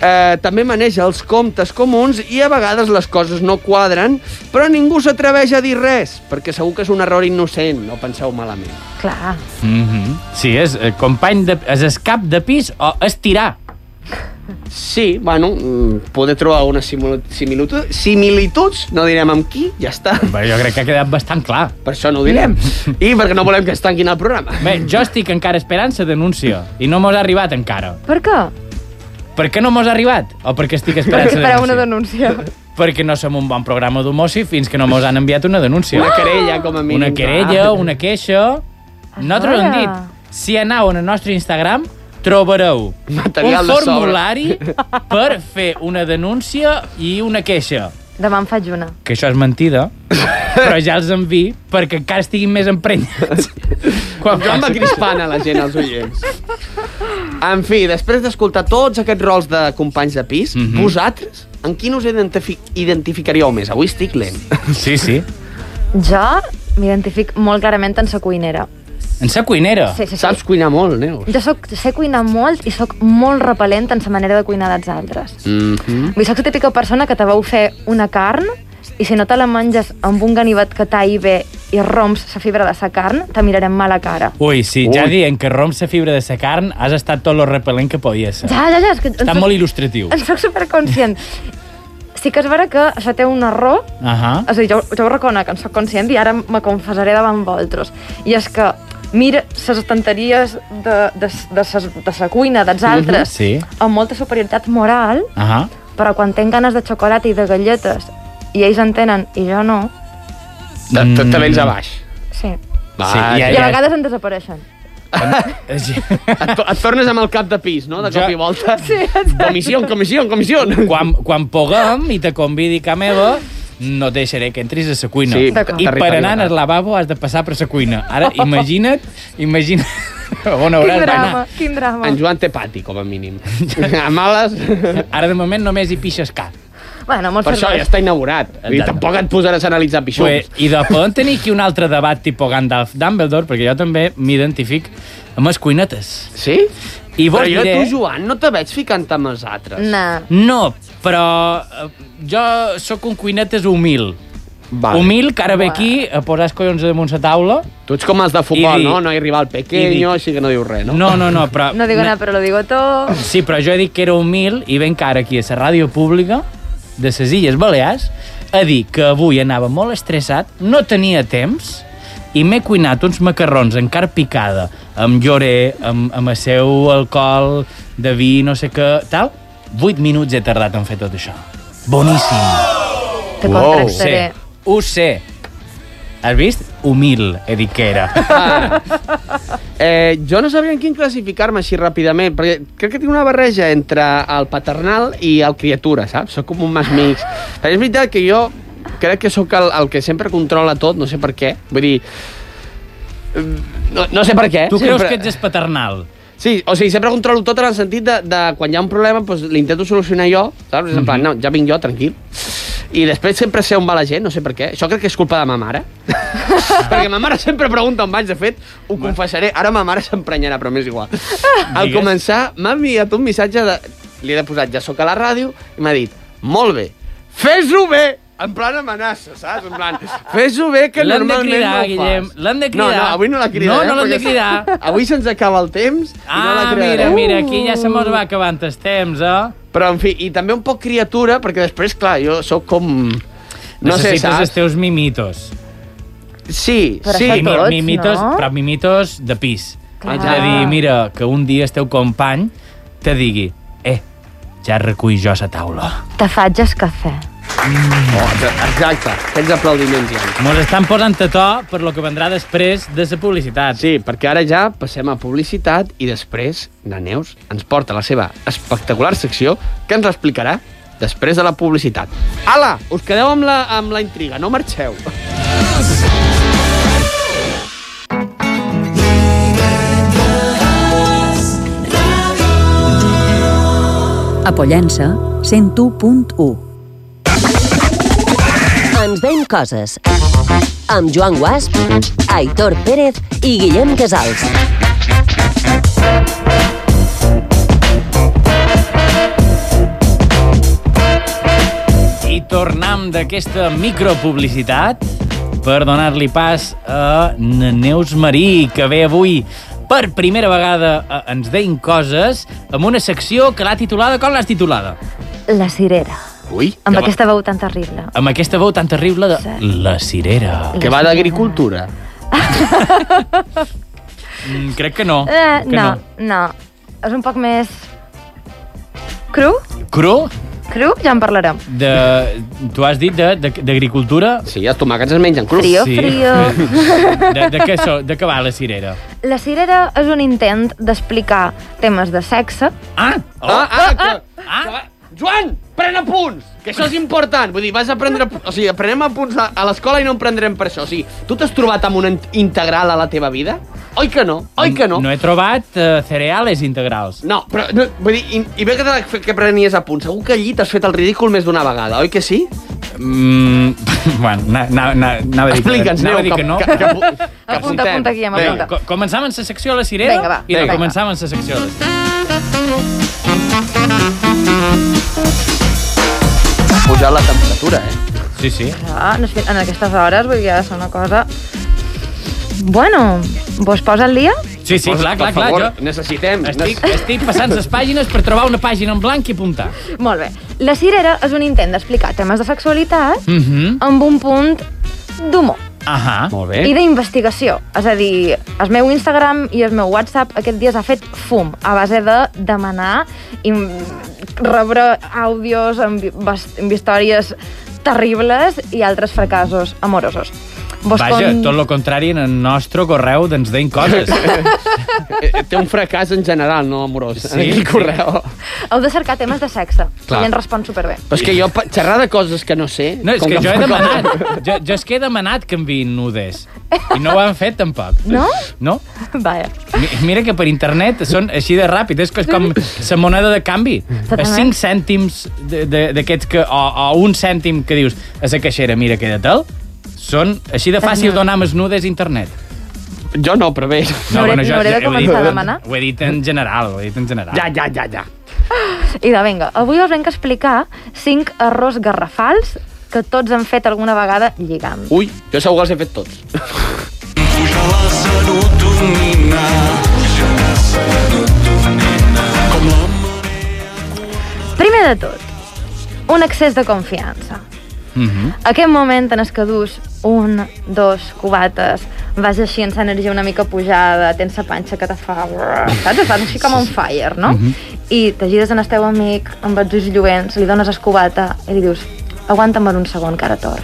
S6: Eh, també maneja els comptes comuns i a vegades les coses no quadren, però ningú s'atreveix a dir res, perquè segur que és un error innocent, no penseu malament.
S7: Clar.
S5: Mm -hmm. Sí, és eh, company de... És escap de pis o estirar.
S6: Sí, bueno, mm, poder trobar unes simil- similitud, similituds, no direm amb qui, ja està.
S5: Bé, jo crec que ha quedat bastant clar.
S6: Per això no ho
S5: (laughs)
S6: direm. I perquè no volem que es tanquin el programa.
S5: Bé, jo estic encara esperant la denúncia i no mos ha arribat encara.
S7: Per què?
S5: Per què no mos ha arribat? O perquè estic esperant
S7: Perquè
S5: la
S7: farà una
S5: denúncia?
S7: denúncia.
S5: Perquè no som un bon programa d'homoci fins que no mos han enviat una denúncia.
S6: Una querella, com a mínim.
S5: una
S6: Ah,
S5: querella, una queixa... Nosaltres hem dit, si anau al nostre Instagram, trobareu
S6: Material
S5: un
S6: de sobre.
S5: formulari per fer una denúncia i una queixa.
S7: Demà en faig una.
S5: Que això és mentida, però ja els envi perquè encara estiguin més emprenyats. Quan
S6: Jo em va
S5: passi.
S6: crispant a la gent, als oients. En fi, després d'escoltar tots aquests rols de companys de pis, mm -hmm. vosaltres, en quin us identifi identificaríeu més? Avui estic lent.
S5: Sí, sí.
S7: Jo m'identific molt clarament en sa cuinera.
S5: En sa cuinera.
S7: Sí, sí, sí.
S6: Saps cuinar molt, Neus.
S7: Jo soc, sé cuinar molt i sóc molt repel·lent en sa manera de cuinar dels altres.
S6: Mm -hmm.
S7: Vull dir, soc la típica persona que te vau fer una carn i si no te la menges amb un ganivet que talli bé i romps la fibra de sa carn, te mirarem mala cara.
S5: Ui, sí, ja
S6: Ui.
S5: dient que romps la fibra de sa carn, has estat tot lo repel·lent que podies ser.
S7: Ja, ja, ja. És que
S5: Està molt il·lustratiu.
S7: En soc superconscient. Sí que és vera que això té un error,
S5: Ahà.
S7: és a dir, jo, jo ho reconec, en soc conscient i ara me confessaré davant vosaltres. I és que mira les estanteries de, de, de, ses, de sa cuina
S6: Mhm,
S7: dels altres
S5: sí.
S7: amb molta superioritat moral,
S5: Ahà.
S7: però quan tenc ganes de xocolata i de galletes i ells en tenen i jo no,
S6: Te, te, te vens a baix.
S7: sí.
S6: Va,
S5: Sí, ja-
S7: I a vegades en desapareixen.
S6: et, to- et tornes amb el cap de pis, no? De
S5: Jo-
S6: cop i volta. Sí, comissió, comissió, comissió.
S5: (laughs) Quan, quan puguem i te convidi a meva, no et deixaré que entris a la cuina.
S6: Sí,
S7: D'acord.
S5: I per
S6: territori
S5: anar al
S6: rural.
S5: lavabo has de passar per la cuina. Ara, imagina't, imagina't (laughs) on hauràs d'anar.
S7: Quin drama, quin drama.
S6: En Joan té pati, com a mínim. A males...
S5: Ara, de moment, només hi pixes cap.
S7: Bueno, molt
S6: Per això ja està inaugurat. I
S5: Exacte.
S6: tampoc et posaràs a analitzar pixons.
S5: Pues, I de poden tenir aquí un altre debat tipus Gandalf Dumbledore, perquè jo també m'identific amb les cuinetes.
S6: Sí?
S5: I vos
S6: Però jo
S5: diré-
S6: a tu, Joan, no te veig ficant amb els altres.
S7: No.
S5: No, però eh, jo sóc un cuinetes humil.
S6: Vale.
S5: Humil, que ara ve aquí a posar els collons damunt la taula.
S6: Tu ets com els de futbol,
S5: I di-
S6: no? No hi arriba
S5: i
S6: el
S5: di-
S6: pequeño, així que no diu res, no?
S5: No, no, no, però...
S7: No digo nada, però lo digo todo.
S5: Sí, però jo he dit que era humil i ben cara aquí a la ràdio pública de les Illes Balears a dir que avui anava molt estressat, no tenia temps i m'he cuinat uns macarrons en carn picada amb llorer, amb, amb el seu alcohol de vi, no sé què, tal. Vuit minuts he tardat en fer tot això. Boníssim.
S7: Te
S6: Wow.
S5: Ho sé,
S7: contractaré.
S5: ho sé. Has vist? Humil, he dit que era.
S6: Eh, jo no sabria en quin classificar-me així ràpidament, perquè crec que tinc una barreja entre el paternal i el criatura, saps? Soc com un mas
S5: (laughs)
S6: mix. Però és veritat que jo crec que sóc el, el que sempre controla tot, no sé per què. Vull dir... eh, No, no sé per què.
S5: Tu creus
S6: sempre...
S5: que ets espaternal?
S6: Sí, o sigui, sempre controlo tot en el
S5: Mhm.
S6: sentit de, de quan hi ha un problema, doncs l'intento solucionar jo, saps? És en plan, no, ja vinc jo, tranquil. I després sempre sé on va la gent, no sé per què. Això crec que és culpa de ma
S5: (laughs)
S6: mare. Perquè ma mare sempre pregunta on vaig, de fet, ho confessaré. Ara ma mare s'emprenyarà, però m'és igual. Al
S5: Digues.
S6: començar, m'ha enviat un missatge de... Li he posat ja soc a la ràdio i m'ha dit, molt bé, fes-ho bé! En plan amenaça, saps? En plan, fes-ho bé, que
S5: L'han de
S6: normalment
S5: cridar,
S6: no ho fas.
S5: Guillem, l'han de
S6: No, no,
S5: cridar.
S6: avui no la crida.
S5: No,
S6: eh,
S5: no l'han de
S6: perquè
S5: cridar.
S6: Avui se'ns acaba el temps i no la Uh.
S5: Ah, mira,
S6: cridarem.
S5: mira, aquí ja se mos va acabant el temps, eh?
S6: Però, en fi, i també un poc criatura, perquè després, clar, jo sóc com... No sé,
S5: Necessites
S6: saps?
S5: els teus mimitos.
S6: Sí,
S7: Però
S6: sí.
S7: això
S5: Però
S7: tots,
S5: mimitos,
S7: no?
S5: però mimitos de pis.
S7: Clar.
S5: És a
S6: Ah.
S5: dir, mira, que un dia el teu company te digui eh, ja recull jo a la taula.
S7: Te faig el cafè.
S6: Exacte, aquells aplaudiments ja.
S5: Mos estan posant a to per lo que vendrà després de la publicitat.
S6: Sí, perquè ara ja passem a publicitat i després la Neus ens porta la seva espectacular secció que ens l'explicarà després de la publicitat. Ala, us quedeu amb la, amb la intriga, no marxeu.
S3: A Pollença, 101.1.
S4: Ens veiem coses. Amb Joan Guasp, Aitor Pérez i Guillem Casals.
S5: I tornam d'aquesta micropublicitat per donar-li pas a na Neus Marí, que ve avui per primera vegada a Ens deien coses amb una secció que l'ha titulada com l'has titulada?
S7: La cirera.
S6: Ui,
S7: Amb
S6: que
S7: aquesta veu tan terrible.
S5: Amb aquesta veu tan terrible de La Cirera.
S6: va, que va d'agricultura.
S5: Mm, crec que no.
S7: Eh,
S5: que
S7: no, no. És un poc més... Cru?
S5: no. Cru?
S7: Cru? Ja en parlarem.
S5: De, tu has dit de- de- d'agricultura?
S6: Sí, els tomàquets es mengen cru.
S7: Frio,
S5: sí.
S7: frio.
S5: (laughs) De, de, què, so, de què va la cirera?
S7: La cirera és un intent d'explicar temes de sexe.
S5: Ah! Oh,
S6: Ah, ah, que,
S5: ah.
S6: que va- Joan, pren apunts, que això és important. Vull dir, vas a prendre... O sigui, aprenem apunts a, a l'escola i no en prendrem per això. O sigui, tu t'has trobat amb una in- integral a la teva vida? Oi que no? Oi que no?
S5: No he trobat uh, cereales integrals.
S6: No, però no, vull dir, i, i bé que, te- que prenies apunts. Segur que allí t'has fet el ridícul més d'una vegada, oi que sí?
S5: Mm, (laughs) bueno, na, na, na, anava a dir que-
S6: Explica'ns,
S5: anava a
S6: Neu,
S5: dir que no.
S6: Que,
S5: (laughs)
S6: que, apu- que,
S7: Apunta,
S6: apuntem.
S7: apunta, Guillem,
S6: Vinga.
S7: apunta.
S5: Co- Començàvem la secció a la cirera
S7: Vinga, va.
S5: i
S6: Vinga.
S5: recomençàvem la secció a la cirera.
S6: Ha pujat la temperatura, eh?
S5: Sí, sí.
S7: Ah, no sé, en aquestes hores, vull dir, ja és una cosa... Bueno, vos posa el dia?
S5: Sí, sí, clar, clar,
S6: per
S5: clar.
S6: favor,
S5: Jo
S6: necessitem.
S5: estic, estic passant les pàgines per trobar una pàgina en blanc i apuntar.
S7: Molt bé. La cirera és un intent d'explicar temes de sexualitat
S5: Mhm.
S7: amb un punt d'humor
S5: Ahà.
S6: Molt
S7: i
S6: bé.
S7: d'investigació. És a dir, el meu Instagram i el meu WhatsApp aquest dia s'ha fet fum a base de demanar i rebre àudios amb, bas- amb històries terribles i altres fracassos amorosos. Vos
S5: Vaja, tot el contrari en el nostre correu d'ens deien
S6: (laughs)
S5: coses.
S6: Eh, Té un fracàs en general, no amorós, sí,
S5: Sí,
S6: en aquell
S5: sí.
S6: correu.
S7: Heu de cercar temes de sexe.
S6: Clar.
S7: I en respon superbé.
S6: Però és que jo, pa- xerrar de coses que no sé...
S5: No, és
S6: com
S5: que jo he
S6: em fa com-
S5: demanat, jo, jo és que he demanat que enviïn nudes. I no ho han fet, tampoc.
S7: No?
S5: No?
S7: Vaja.
S5: Mi- Mira que per internet són així de ràpid, és que és com la moneda de canvi. A 5
S7: Totalment.
S5: cèntims de- de- d'aquests que... O, o un cèntim que dius a la caixera, mira, queda-te'l, són així de fàcil donar amb els nudes a internet.
S6: Jo no, però bé.
S7: N'hauré- n'hauré de
S5: ho he
S7: començar a demanar.
S5: Ho he dit en general, ho he dit en general.
S6: Ja, ja, ja, ja.
S7: I de vinga, avui us venc a explicar 5 errors garrafals que tots han fet alguna vegada lligant.
S6: Ui, jo segur que els he fet tots.
S7: Primer de tot, un excés de confiança.
S5: Mhm.
S7: Aquest moment en el que dus un, dos cubates, vas així amb l'energia una mica pujada, tens la panxa que te fa... Saps? Estàs així com on fire, no? I te gires en el teu amic, amb els ulls lluents, li dones escobata i li dius aguanta'm per un segon, que ara torn.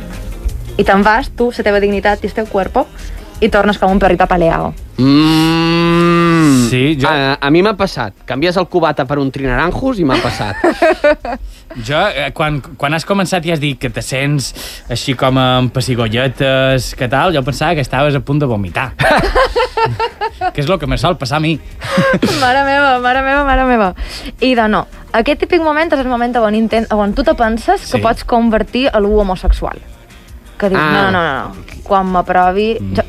S7: I te'n vas, tu, la teva dignitat i el teu cuerpo, i tornes com un perrito apaleado.
S6: Mmm...
S5: Sí, Sí, jo,
S6: A, a mi m'ha passat. Canvies el cubata per un trinaranjos i m'ha passat.
S5: jo eh, quan, quan has començat i has dit que te sents així com amb pessigolletes, que tal, jo pensava que estaves a punt de vomitar. (laughs) que és el que me sol passar a mi.
S7: Mare meva, mare meva, mare meva. I de no, aquest típic moment és el moment on, intent, on tu te penses sí.
S5: Sí.
S7: que pots convertir a l'ú homosexual. Que dius, ah.
S6: Ah.
S7: no, no, no, no, quan m'aprovi, jo,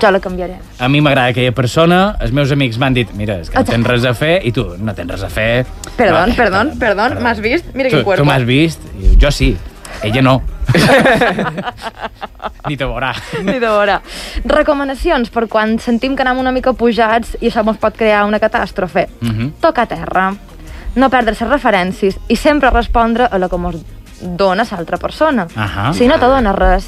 S7: jo la canviaré.
S5: A mi m'agrada aquella persona, els meus amics m'han dit, mira, és que no tens res a fer, i tu, no tens res a fer.
S7: Perdón,
S5: no,
S7: perdón, perdón, m'has vist? Mira
S5: tu,
S7: quin
S5: tu
S7: cuerpo.
S5: m'has vist? I diu, jo sí, ella
S7: (laughs)
S5: no. Ni te veurà.
S7: Ni de veure. Recomanacions per quan sentim que anem una mica pujats i això ens pot crear una catàstrofe. Mm
S5: Mhm.
S7: -hmm. Tocar terra, no perdre les referències i sempre respondre a la que mos dona l'altra persona.
S5: Ahà.
S7: Si no te dona res,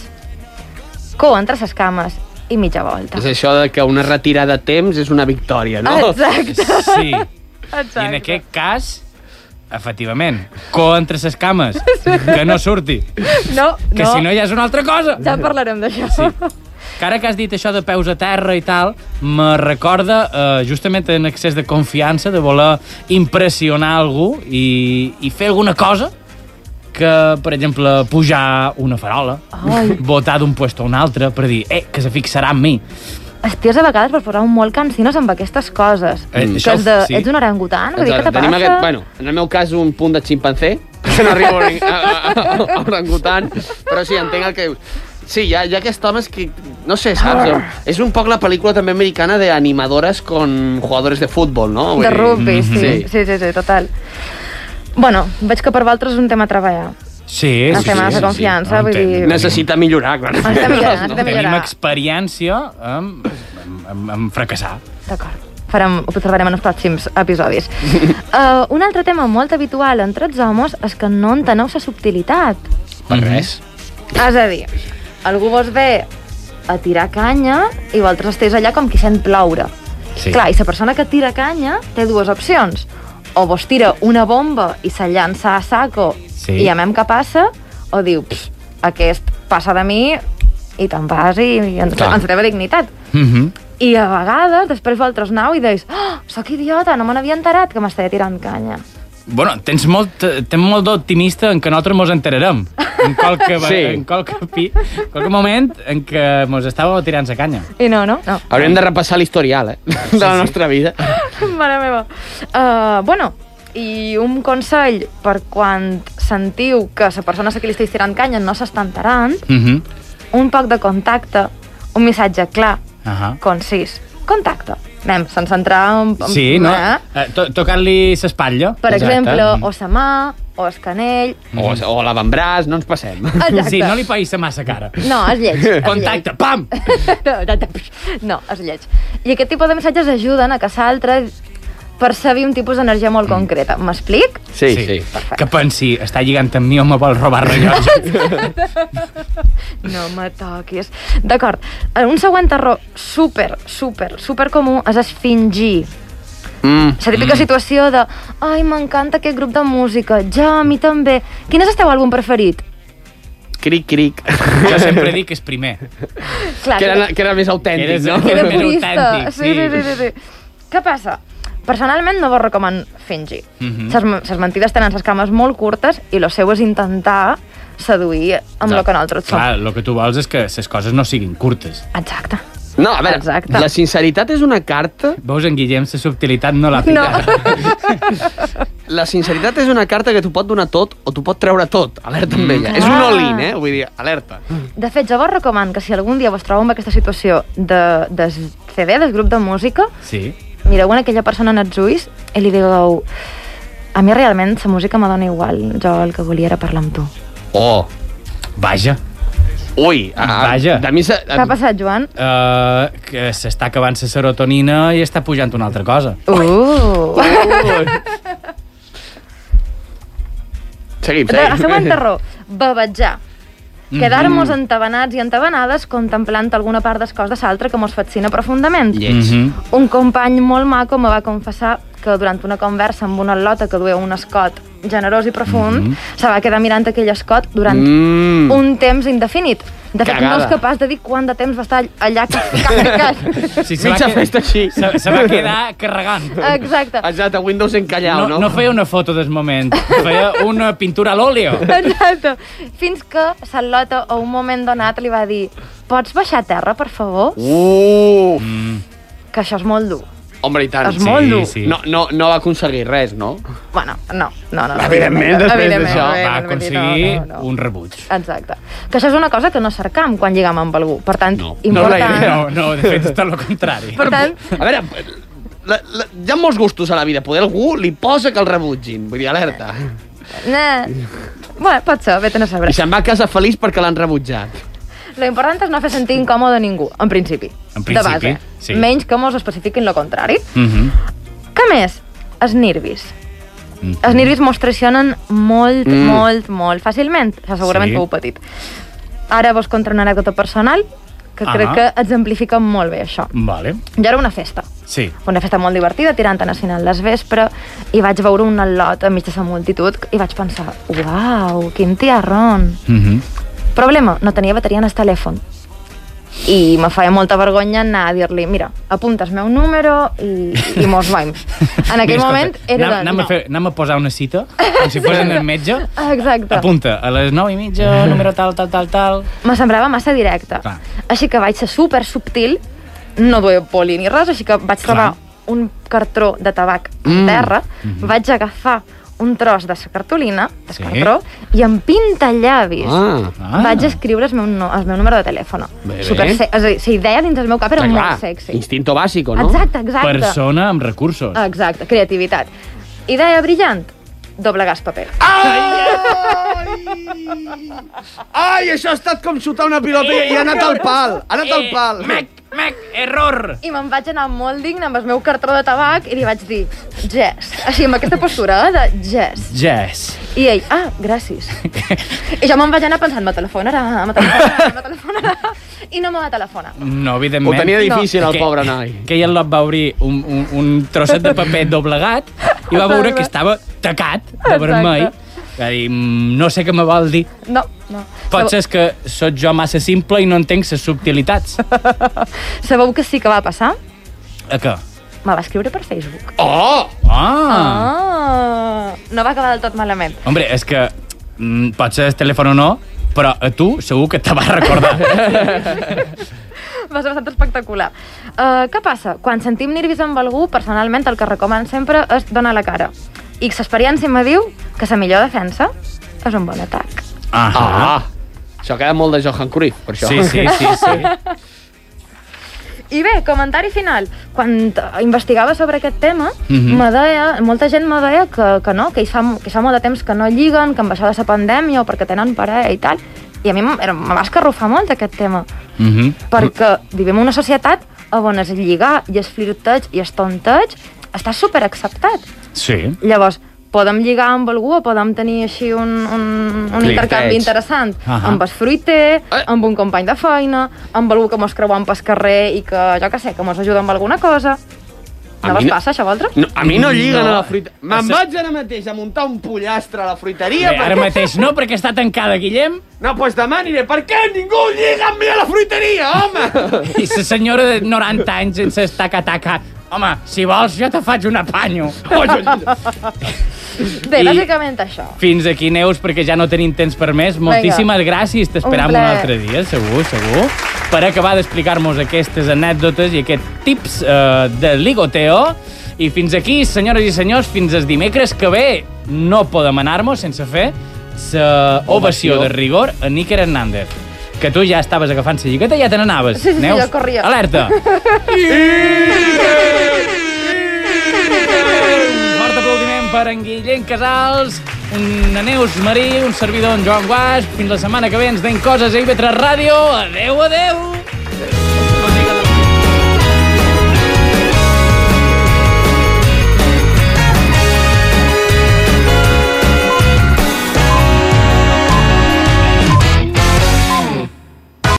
S7: cou entre ses cames i mitja volta.
S6: és això de que una retirada a temps és una victòria, no?
S7: Ah, Exacte.
S5: Sí.
S7: Exacte.
S5: I en aquest cas, efectivament, co entre ses cames, que no surti.
S7: No,
S5: Que
S7: no,
S5: si no ja és una altra cosa.
S7: ja parlarem d'això.
S5: (laughs) Sí. Que ara que has dit això de peus a terra i tal, me recorda eh, justament en excés de confiança, de voler impressionar algú i, i fer alguna cosa que, per exemple, pujar una farola,
S7: Ai.
S5: (laughs) botar d'un puesto a un altre per dir, eh, que se fixarà en mi.
S7: Esties a vegades per posar un molt cansines amb aquestes coses.
S5: Eh,
S7: que
S5: això
S7: és de,
S5: sí.
S7: ets un orangutan? Vull dir, què te
S6: Tenim
S7: passa?
S6: aquest, bueno, en el meu cas un punt de ximpancé, que no arriba a, a, a, a orangutan, però sí, entenc el que dius. Sí, hi ha, hi ha aquest home que, no sé, saps? És un poc la pel·lícula també americana d'animadores con jugadores de futbol, no? Vull
S7: De
S6: dir-
S7: rugby, sí.
S6: Sí.
S7: sí. Sí, sí, sí, total. Bueno, veig que per vosaltres és un tema a treballar.
S5: Sí,
S7: El
S5: sí,
S7: tema
S5: sí,
S7: de la confiança, vull dir-
S5: entenc.
S6: Necessita millorar, clar.
S7: Necessita
S6: (laughs)
S7: millorar, necessita
S6: No.
S5: Tenim
S7: millorar.
S5: experiència en, en, en, en fracassar.
S7: D'acord. Farem, ho trobarem en els pròxims episodis. uh, un altre tema molt habitual entre els homes és que no enteneu la subtilitat.
S6: Per res.
S7: És a dir, algú vos ve a tirar canya i vosaltres esteu allà com qui sent ploure.
S5: Sí.
S7: Clar, i la persona que tira canya té dues opcions. O vos tira una bomba i se llança a saco
S5: Sí.
S7: i a mem que passa, o diu, "Pff, aquest passa de mi i te'n vas i, i ens,
S6: Clar.
S7: ens treva dignitat.
S5: Mm -hmm.
S7: I a vegades, després vosaltres anau i deis oh, sóc idiota, no me n'havia enterat que m'estaria tirant canya.
S5: Bueno, tens molt, tens molt d'optimista en que nosaltres mos enterarem. En qualque,
S6: Sí.
S5: sí. en qualque, pi, en qualque moment en què mos estàveu tirant la canya.
S7: I no, no? No.
S6: Haurem de repassar l'historial, eh? De la nostra vida.
S7: Mare meva. Uh, bueno, i un consell per quan sentiu que la persona a qui li esteu tirant canya no s'està enterant,
S5: Mm -hmm.
S7: un poc de contacte, un missatge clar,
S5: uh -huh.
S7: concís, contacte. Anem, sense entrar en... en-
S5: Sí, no?
S7: Eh?
S5: Eh, to Tocant-li l'espatlla.
S7: Per Exacte. exemple,
S5: Mm.
S7: oh, o sa mà, o es canell...
S6: O, o l'avantbraç, no ens passem.
S7: Exacte.
S5: Sí, no li païs la massa cara.
S7: No, és lleig. és
S5: Contacte, pam!
S7: (laughs) no, no, no, no, és lleig. I aquest tipus de missatges ajuden a que l'altre percebi un tipus d'energia molt concreta. M'explic?
S6: Sí, sí.
S5: Que pensi, està lligant amb mi o me vol robar
S7: (laughs)
S5: rellotge.
S7: No me toquis. D'acord. Eh, Un següent error super, super, super comú és esfingir.
S6: Mm.
S7: La típica mm. situació de ai, m'encanta aquest grup de música, ja, a mi també. Quin és el teu àlbum preferit?
S6: Cric, cric.
S5: jo sempre dic que és primer.
S7: Clar,
S6: Que era, que era més autèntic,
S5: Eres-
S6: no? (laughs)
S7: que era
S5: més
S7: purista.
S5: autèntic,
S7: Sí, sí,
S5: sí.
S7: sí, sí, sí. Què passa? Personalment no vos recomano fingir.
S5: Mhm.
S7: Ses Ses mentides tenen ses cames molt curtes i lo seu és intentar seduir amb no. lo que nosaltres som.
S5: Clar, el que tu vols és que les coses no siguin curtes.
S7: Exacte.
S6: No, a veure,
S7: Exacte.
S6: la sinceritat és una carta...
S5: Veus, en Guillem, la subtilitat no l'ha
S7: No.
S5: picat.
S6: La sinceritat és una carta que t'ho pot donar tot o t'ho pot treure tot. Alerta amb ella. És un
S7: clar.
S6: all-in, eh? Vull dir, alerta.
S7: De fet, jo vos recomano que si algun dia vos trobeu en aquesta situació de, de CD, del grup de música,
S5: Sí.
S7: mireu en aquella persona en els ulls i li digueu a mi realment la música me dona igual, jo el que volia era parlar amb tu.
S6: Oh.
S5: Vaja.
S6: Ui. A,
S5: Vaja.
S6: De mi se,
S7: Què ha
S6: a,
S7: passat, Joan?
S5: Uh, que s'està acabant la serotonina i està pujant una altra cosa.
S7: Uh!
S6: seguim,
S7: La
S6: seguim.
S7: següent error, babatjar. Quedar-nos entabanats i entabanades contemplant alguna part del cos de l'altre que mos fascina profundament.
S6: Lleig.
S5: Mm-hmm. Mhm.
S7: Un company molt maco me va confessar que durant una conversa amb una lota que duia un escot generós i profund, se va quedar mirant aquell escot durant
S6: Mm-hmm. Mm.
S7: un temps indefinit. De fet,
S5: Cagada.
S7: no és capaç de dir quant de temps va estar allà
S6: (laughs)
S7: carregant.
S5: Sí, se va
S6: Mitja
S5: que-
S6: festa així.
S5: Se, se va quedar carregant.
S7: Exacte.
S6: Exacte, Windows encallado,
S5: No,
S6: no?
S5: no feia una foto del moment, feia una pintura a l'òleo.
S7: Exacte. Fins que Sal·lota a un moment donat li va dir pots baixar a terra, per favor?
S6: Uh!
S7: Que això és molt dur.
S6: Home, i tant.
S7: És molt dur.
S5: Sí.
S6: No, no, no va aconseguir res, no?
S7: Bueno, no, no, no. no
S6: Evidentment, després
S7: Evidentment,
S6: d'això,
S5: Va
S7: evidentment, vull dir, no,
S5: aconseguir
S7: no, no.
S5: un rebuig.
S7: Exacte. Que això és una cosa que no cercam quan lligam amb algú. Per tant,
S6: No. No és
S7: important...
S6: la idea.
S5: No, no, de fet, és tot el contrari.
S7: Per tant,
S6: A veure, la, la, hi ha molts gustos a la vida. Poder algú li posa que el rebutgin. Vull dir, alerta.
S7: nah. bueno, pot ser, vete a saber.
S6: I se'n va a casa feliç perquè l'han rebutjat.
S7: Lo important és no fer sentir incòmode a ningú, en principi.
S5: En principi,
S7: de base.
S5: sí.
S7: Menys que molts especifiquin lo contrari.
S5: Mhm.
S7: Què més? Els nervis.
S5: Mhm.
S7: Els nervis mos traicionen molt, mm. molt, molt fàcilment. Això segurament
S5: Sí.
S7: sí. feu petit. Ara vos contra una anècdota personal que
S5: Ah.
S7: crec que exemplifica molt bé això.
S5: Vale.
S7: Jo era a una festa,
S5: Sí.
S7: una festa molt divertida, tirant a Nacional les vespre, i vaig veure un al·lot enmig de la multitud i vaig pensar, uau, quin tiarrón.
S5: (laughs) Mhm.
S7: Problema, no tenia bateria en el telèfon. I me feia molta vergonya anar a dir-li, mira, apunta el meu número i, i mos
S5: (laughs)
S7: veiem. En aquell
S5: Mira,
S7: moment
S5: escolta,
S7: era
S5: anem,
S7: de...
S5: anem, a fer, anem a posar una cita, com si fos en el metge.
S7: Exacte.
S5: Apunta, a les 9 i mitja, número tal, tal, tal, tal.
S7: Me semblava massa directe.
S5: Clar.
S7: Així que vaig ser super subtil, no duia poli ni res, així que vaig
S5: Clar.
S7: trobar un cartró de tabac mm. a terra, mm. vaig agafar un tros de la cartolina,
S5: Mhm.
S7: de
S5: Sí.
S7: sí. cartró, i amb pintallavis
S6: Ah.
S5: Ah.
S7: vaig escriure el meu, no, el meu número de telèfon.
S5: Bé, bé.
S7: Super, se- és a dir, la idea dins el meu cap era molt sexy.
S6: Instinto bàsico, no?
S7: Exacte, exacte.
S5: Persona amb recursos.
S7: Exacte, creativitat. Idea brillant, doblegar el paper.
S6: Ai, això ha estat com xutar una pilota i, i ha anat al pal. Ha anat
S5: Eh,
S6: al pal.
S5: Mec, mec, error!
S7: I me'n vaig anar molt digne amb el meu cartró de tabac i li vaig dir, Jess. Així, amb aquesta postura eh, de Jess.
S5: Yes.
S7: I ell, ah, gràcies. I jo me'n vaig anar pensant, me telefonarà, me telefonarà, me telefonarà. I no me va telefonar.
S5: No,
S6: Ho
S5: evidentment.
S6: tenia difícil,
S5: No.
S6: el pobre noi.
S5: Que ell lot va obrir un, un, un trosset de paper doblegat i va veure que estava tacat de
S7: Exacte.
S5: vermell. Va dir, "Mm, no sé què me vol dir.
S7: No, no.
S5: Potser és que sóc jo massa simple i no entenc les subtilitats.
S7: Sabeu, sabeu que sí que va passar?
S5: A què?
S7: Me va escriure per Facebook.
S6: Oh!
S5: Ah!
S7: Ah. No va acabar del tot malament.
S5: Hombre, és que mm, potser el telèfon o no, però a tu segur que te va recordar.
S7: Va ser bastant espectacular. Uh, què passa? Quan sentim nervis amb algú, personalment el que recoman sempre és donar la cara. I l'experiència me diu que la millor defensa és un bon atac.
S5: Ah!
S6: Ah! Això queda molt de Johan Cruyff, per això.
S5: Sí, sí, sí, sí.
S7: I bé, comentari final. Quan eh, investigava sobre aquest tema,
S5: Mhm.
S7: me deia, molta gent me deia que, que no, que hi, fa, mo- que hi fa molt de temps que no lliguen, que amb això de la pandèmia o perquè tenen parella i tal. I a mi m- era- me va escarrufar molt aquest tema,
S5: Mhm.
S7: perquè vivim en una societat on es lligar i es flirteig i es tonteig està superacceptat.
S5: Sí.
S7: Llavors, podem lligar amb algú o podem tenir així un, un, un
S6: Flirteig.
S7: intercanvi interessant
S5: Ahà.
S7: amb el fruiter,
S6: Eh.
S7: amb un company de feina, amb algú que mos creuem pel carrer i que, jo que sé, que mos ajuda amb alguna cosa.
S6: A
S7: No
S6: mi
S7: vos
S6: no-
S7: passa, això, a vosaltres?
S6: No, a mi no lliguen
S5: No.
S6: a la fruita... Me'n
S5: Això-
S6: vaig ara mateix a muntar un pollastre a la fruiteria...
S5: Bé, ara mateix no, perquè està tancada, Guillem,
S6: No, doncs pues demà aniré. Per què ningú lliga amb mi a la fruiteria, home?
S5: i la senyora de 90 anys sense estaca-taca. Home, si vols, jo te faig un apanyo.
S7: Bé,
S5: i-
S7: bàsicament això.
S5: Fins aquí, Neus, perquè ja no tenim temps per més. Moltíssimes gràcies. T'esperam
S7: Un
S5: un,
S7: plaer.
S5: altre dia, segur, segur, per acabar d'explicar-nos aquestes anècdotes i aquests tips eh, de ligoteo. I fins aquí, senyores i senyors, fins el dimecres que ve no podem anar-nos sense fer la ovació de rigor a Níker Hernández que tu ja estaves agafant la lligueta i ja te n'anaves.
S7: Sí, sí, sí,
S5: Neus,
S7: jo corria. (laughs)
S5: Alerta! Un fort aplaudiment per en Guillem Casals, una Neus Marí, un servidor en Joan Guas. Fins la setmana que ve ens deim coses a IB3 Ràdio. Adeu, adeu!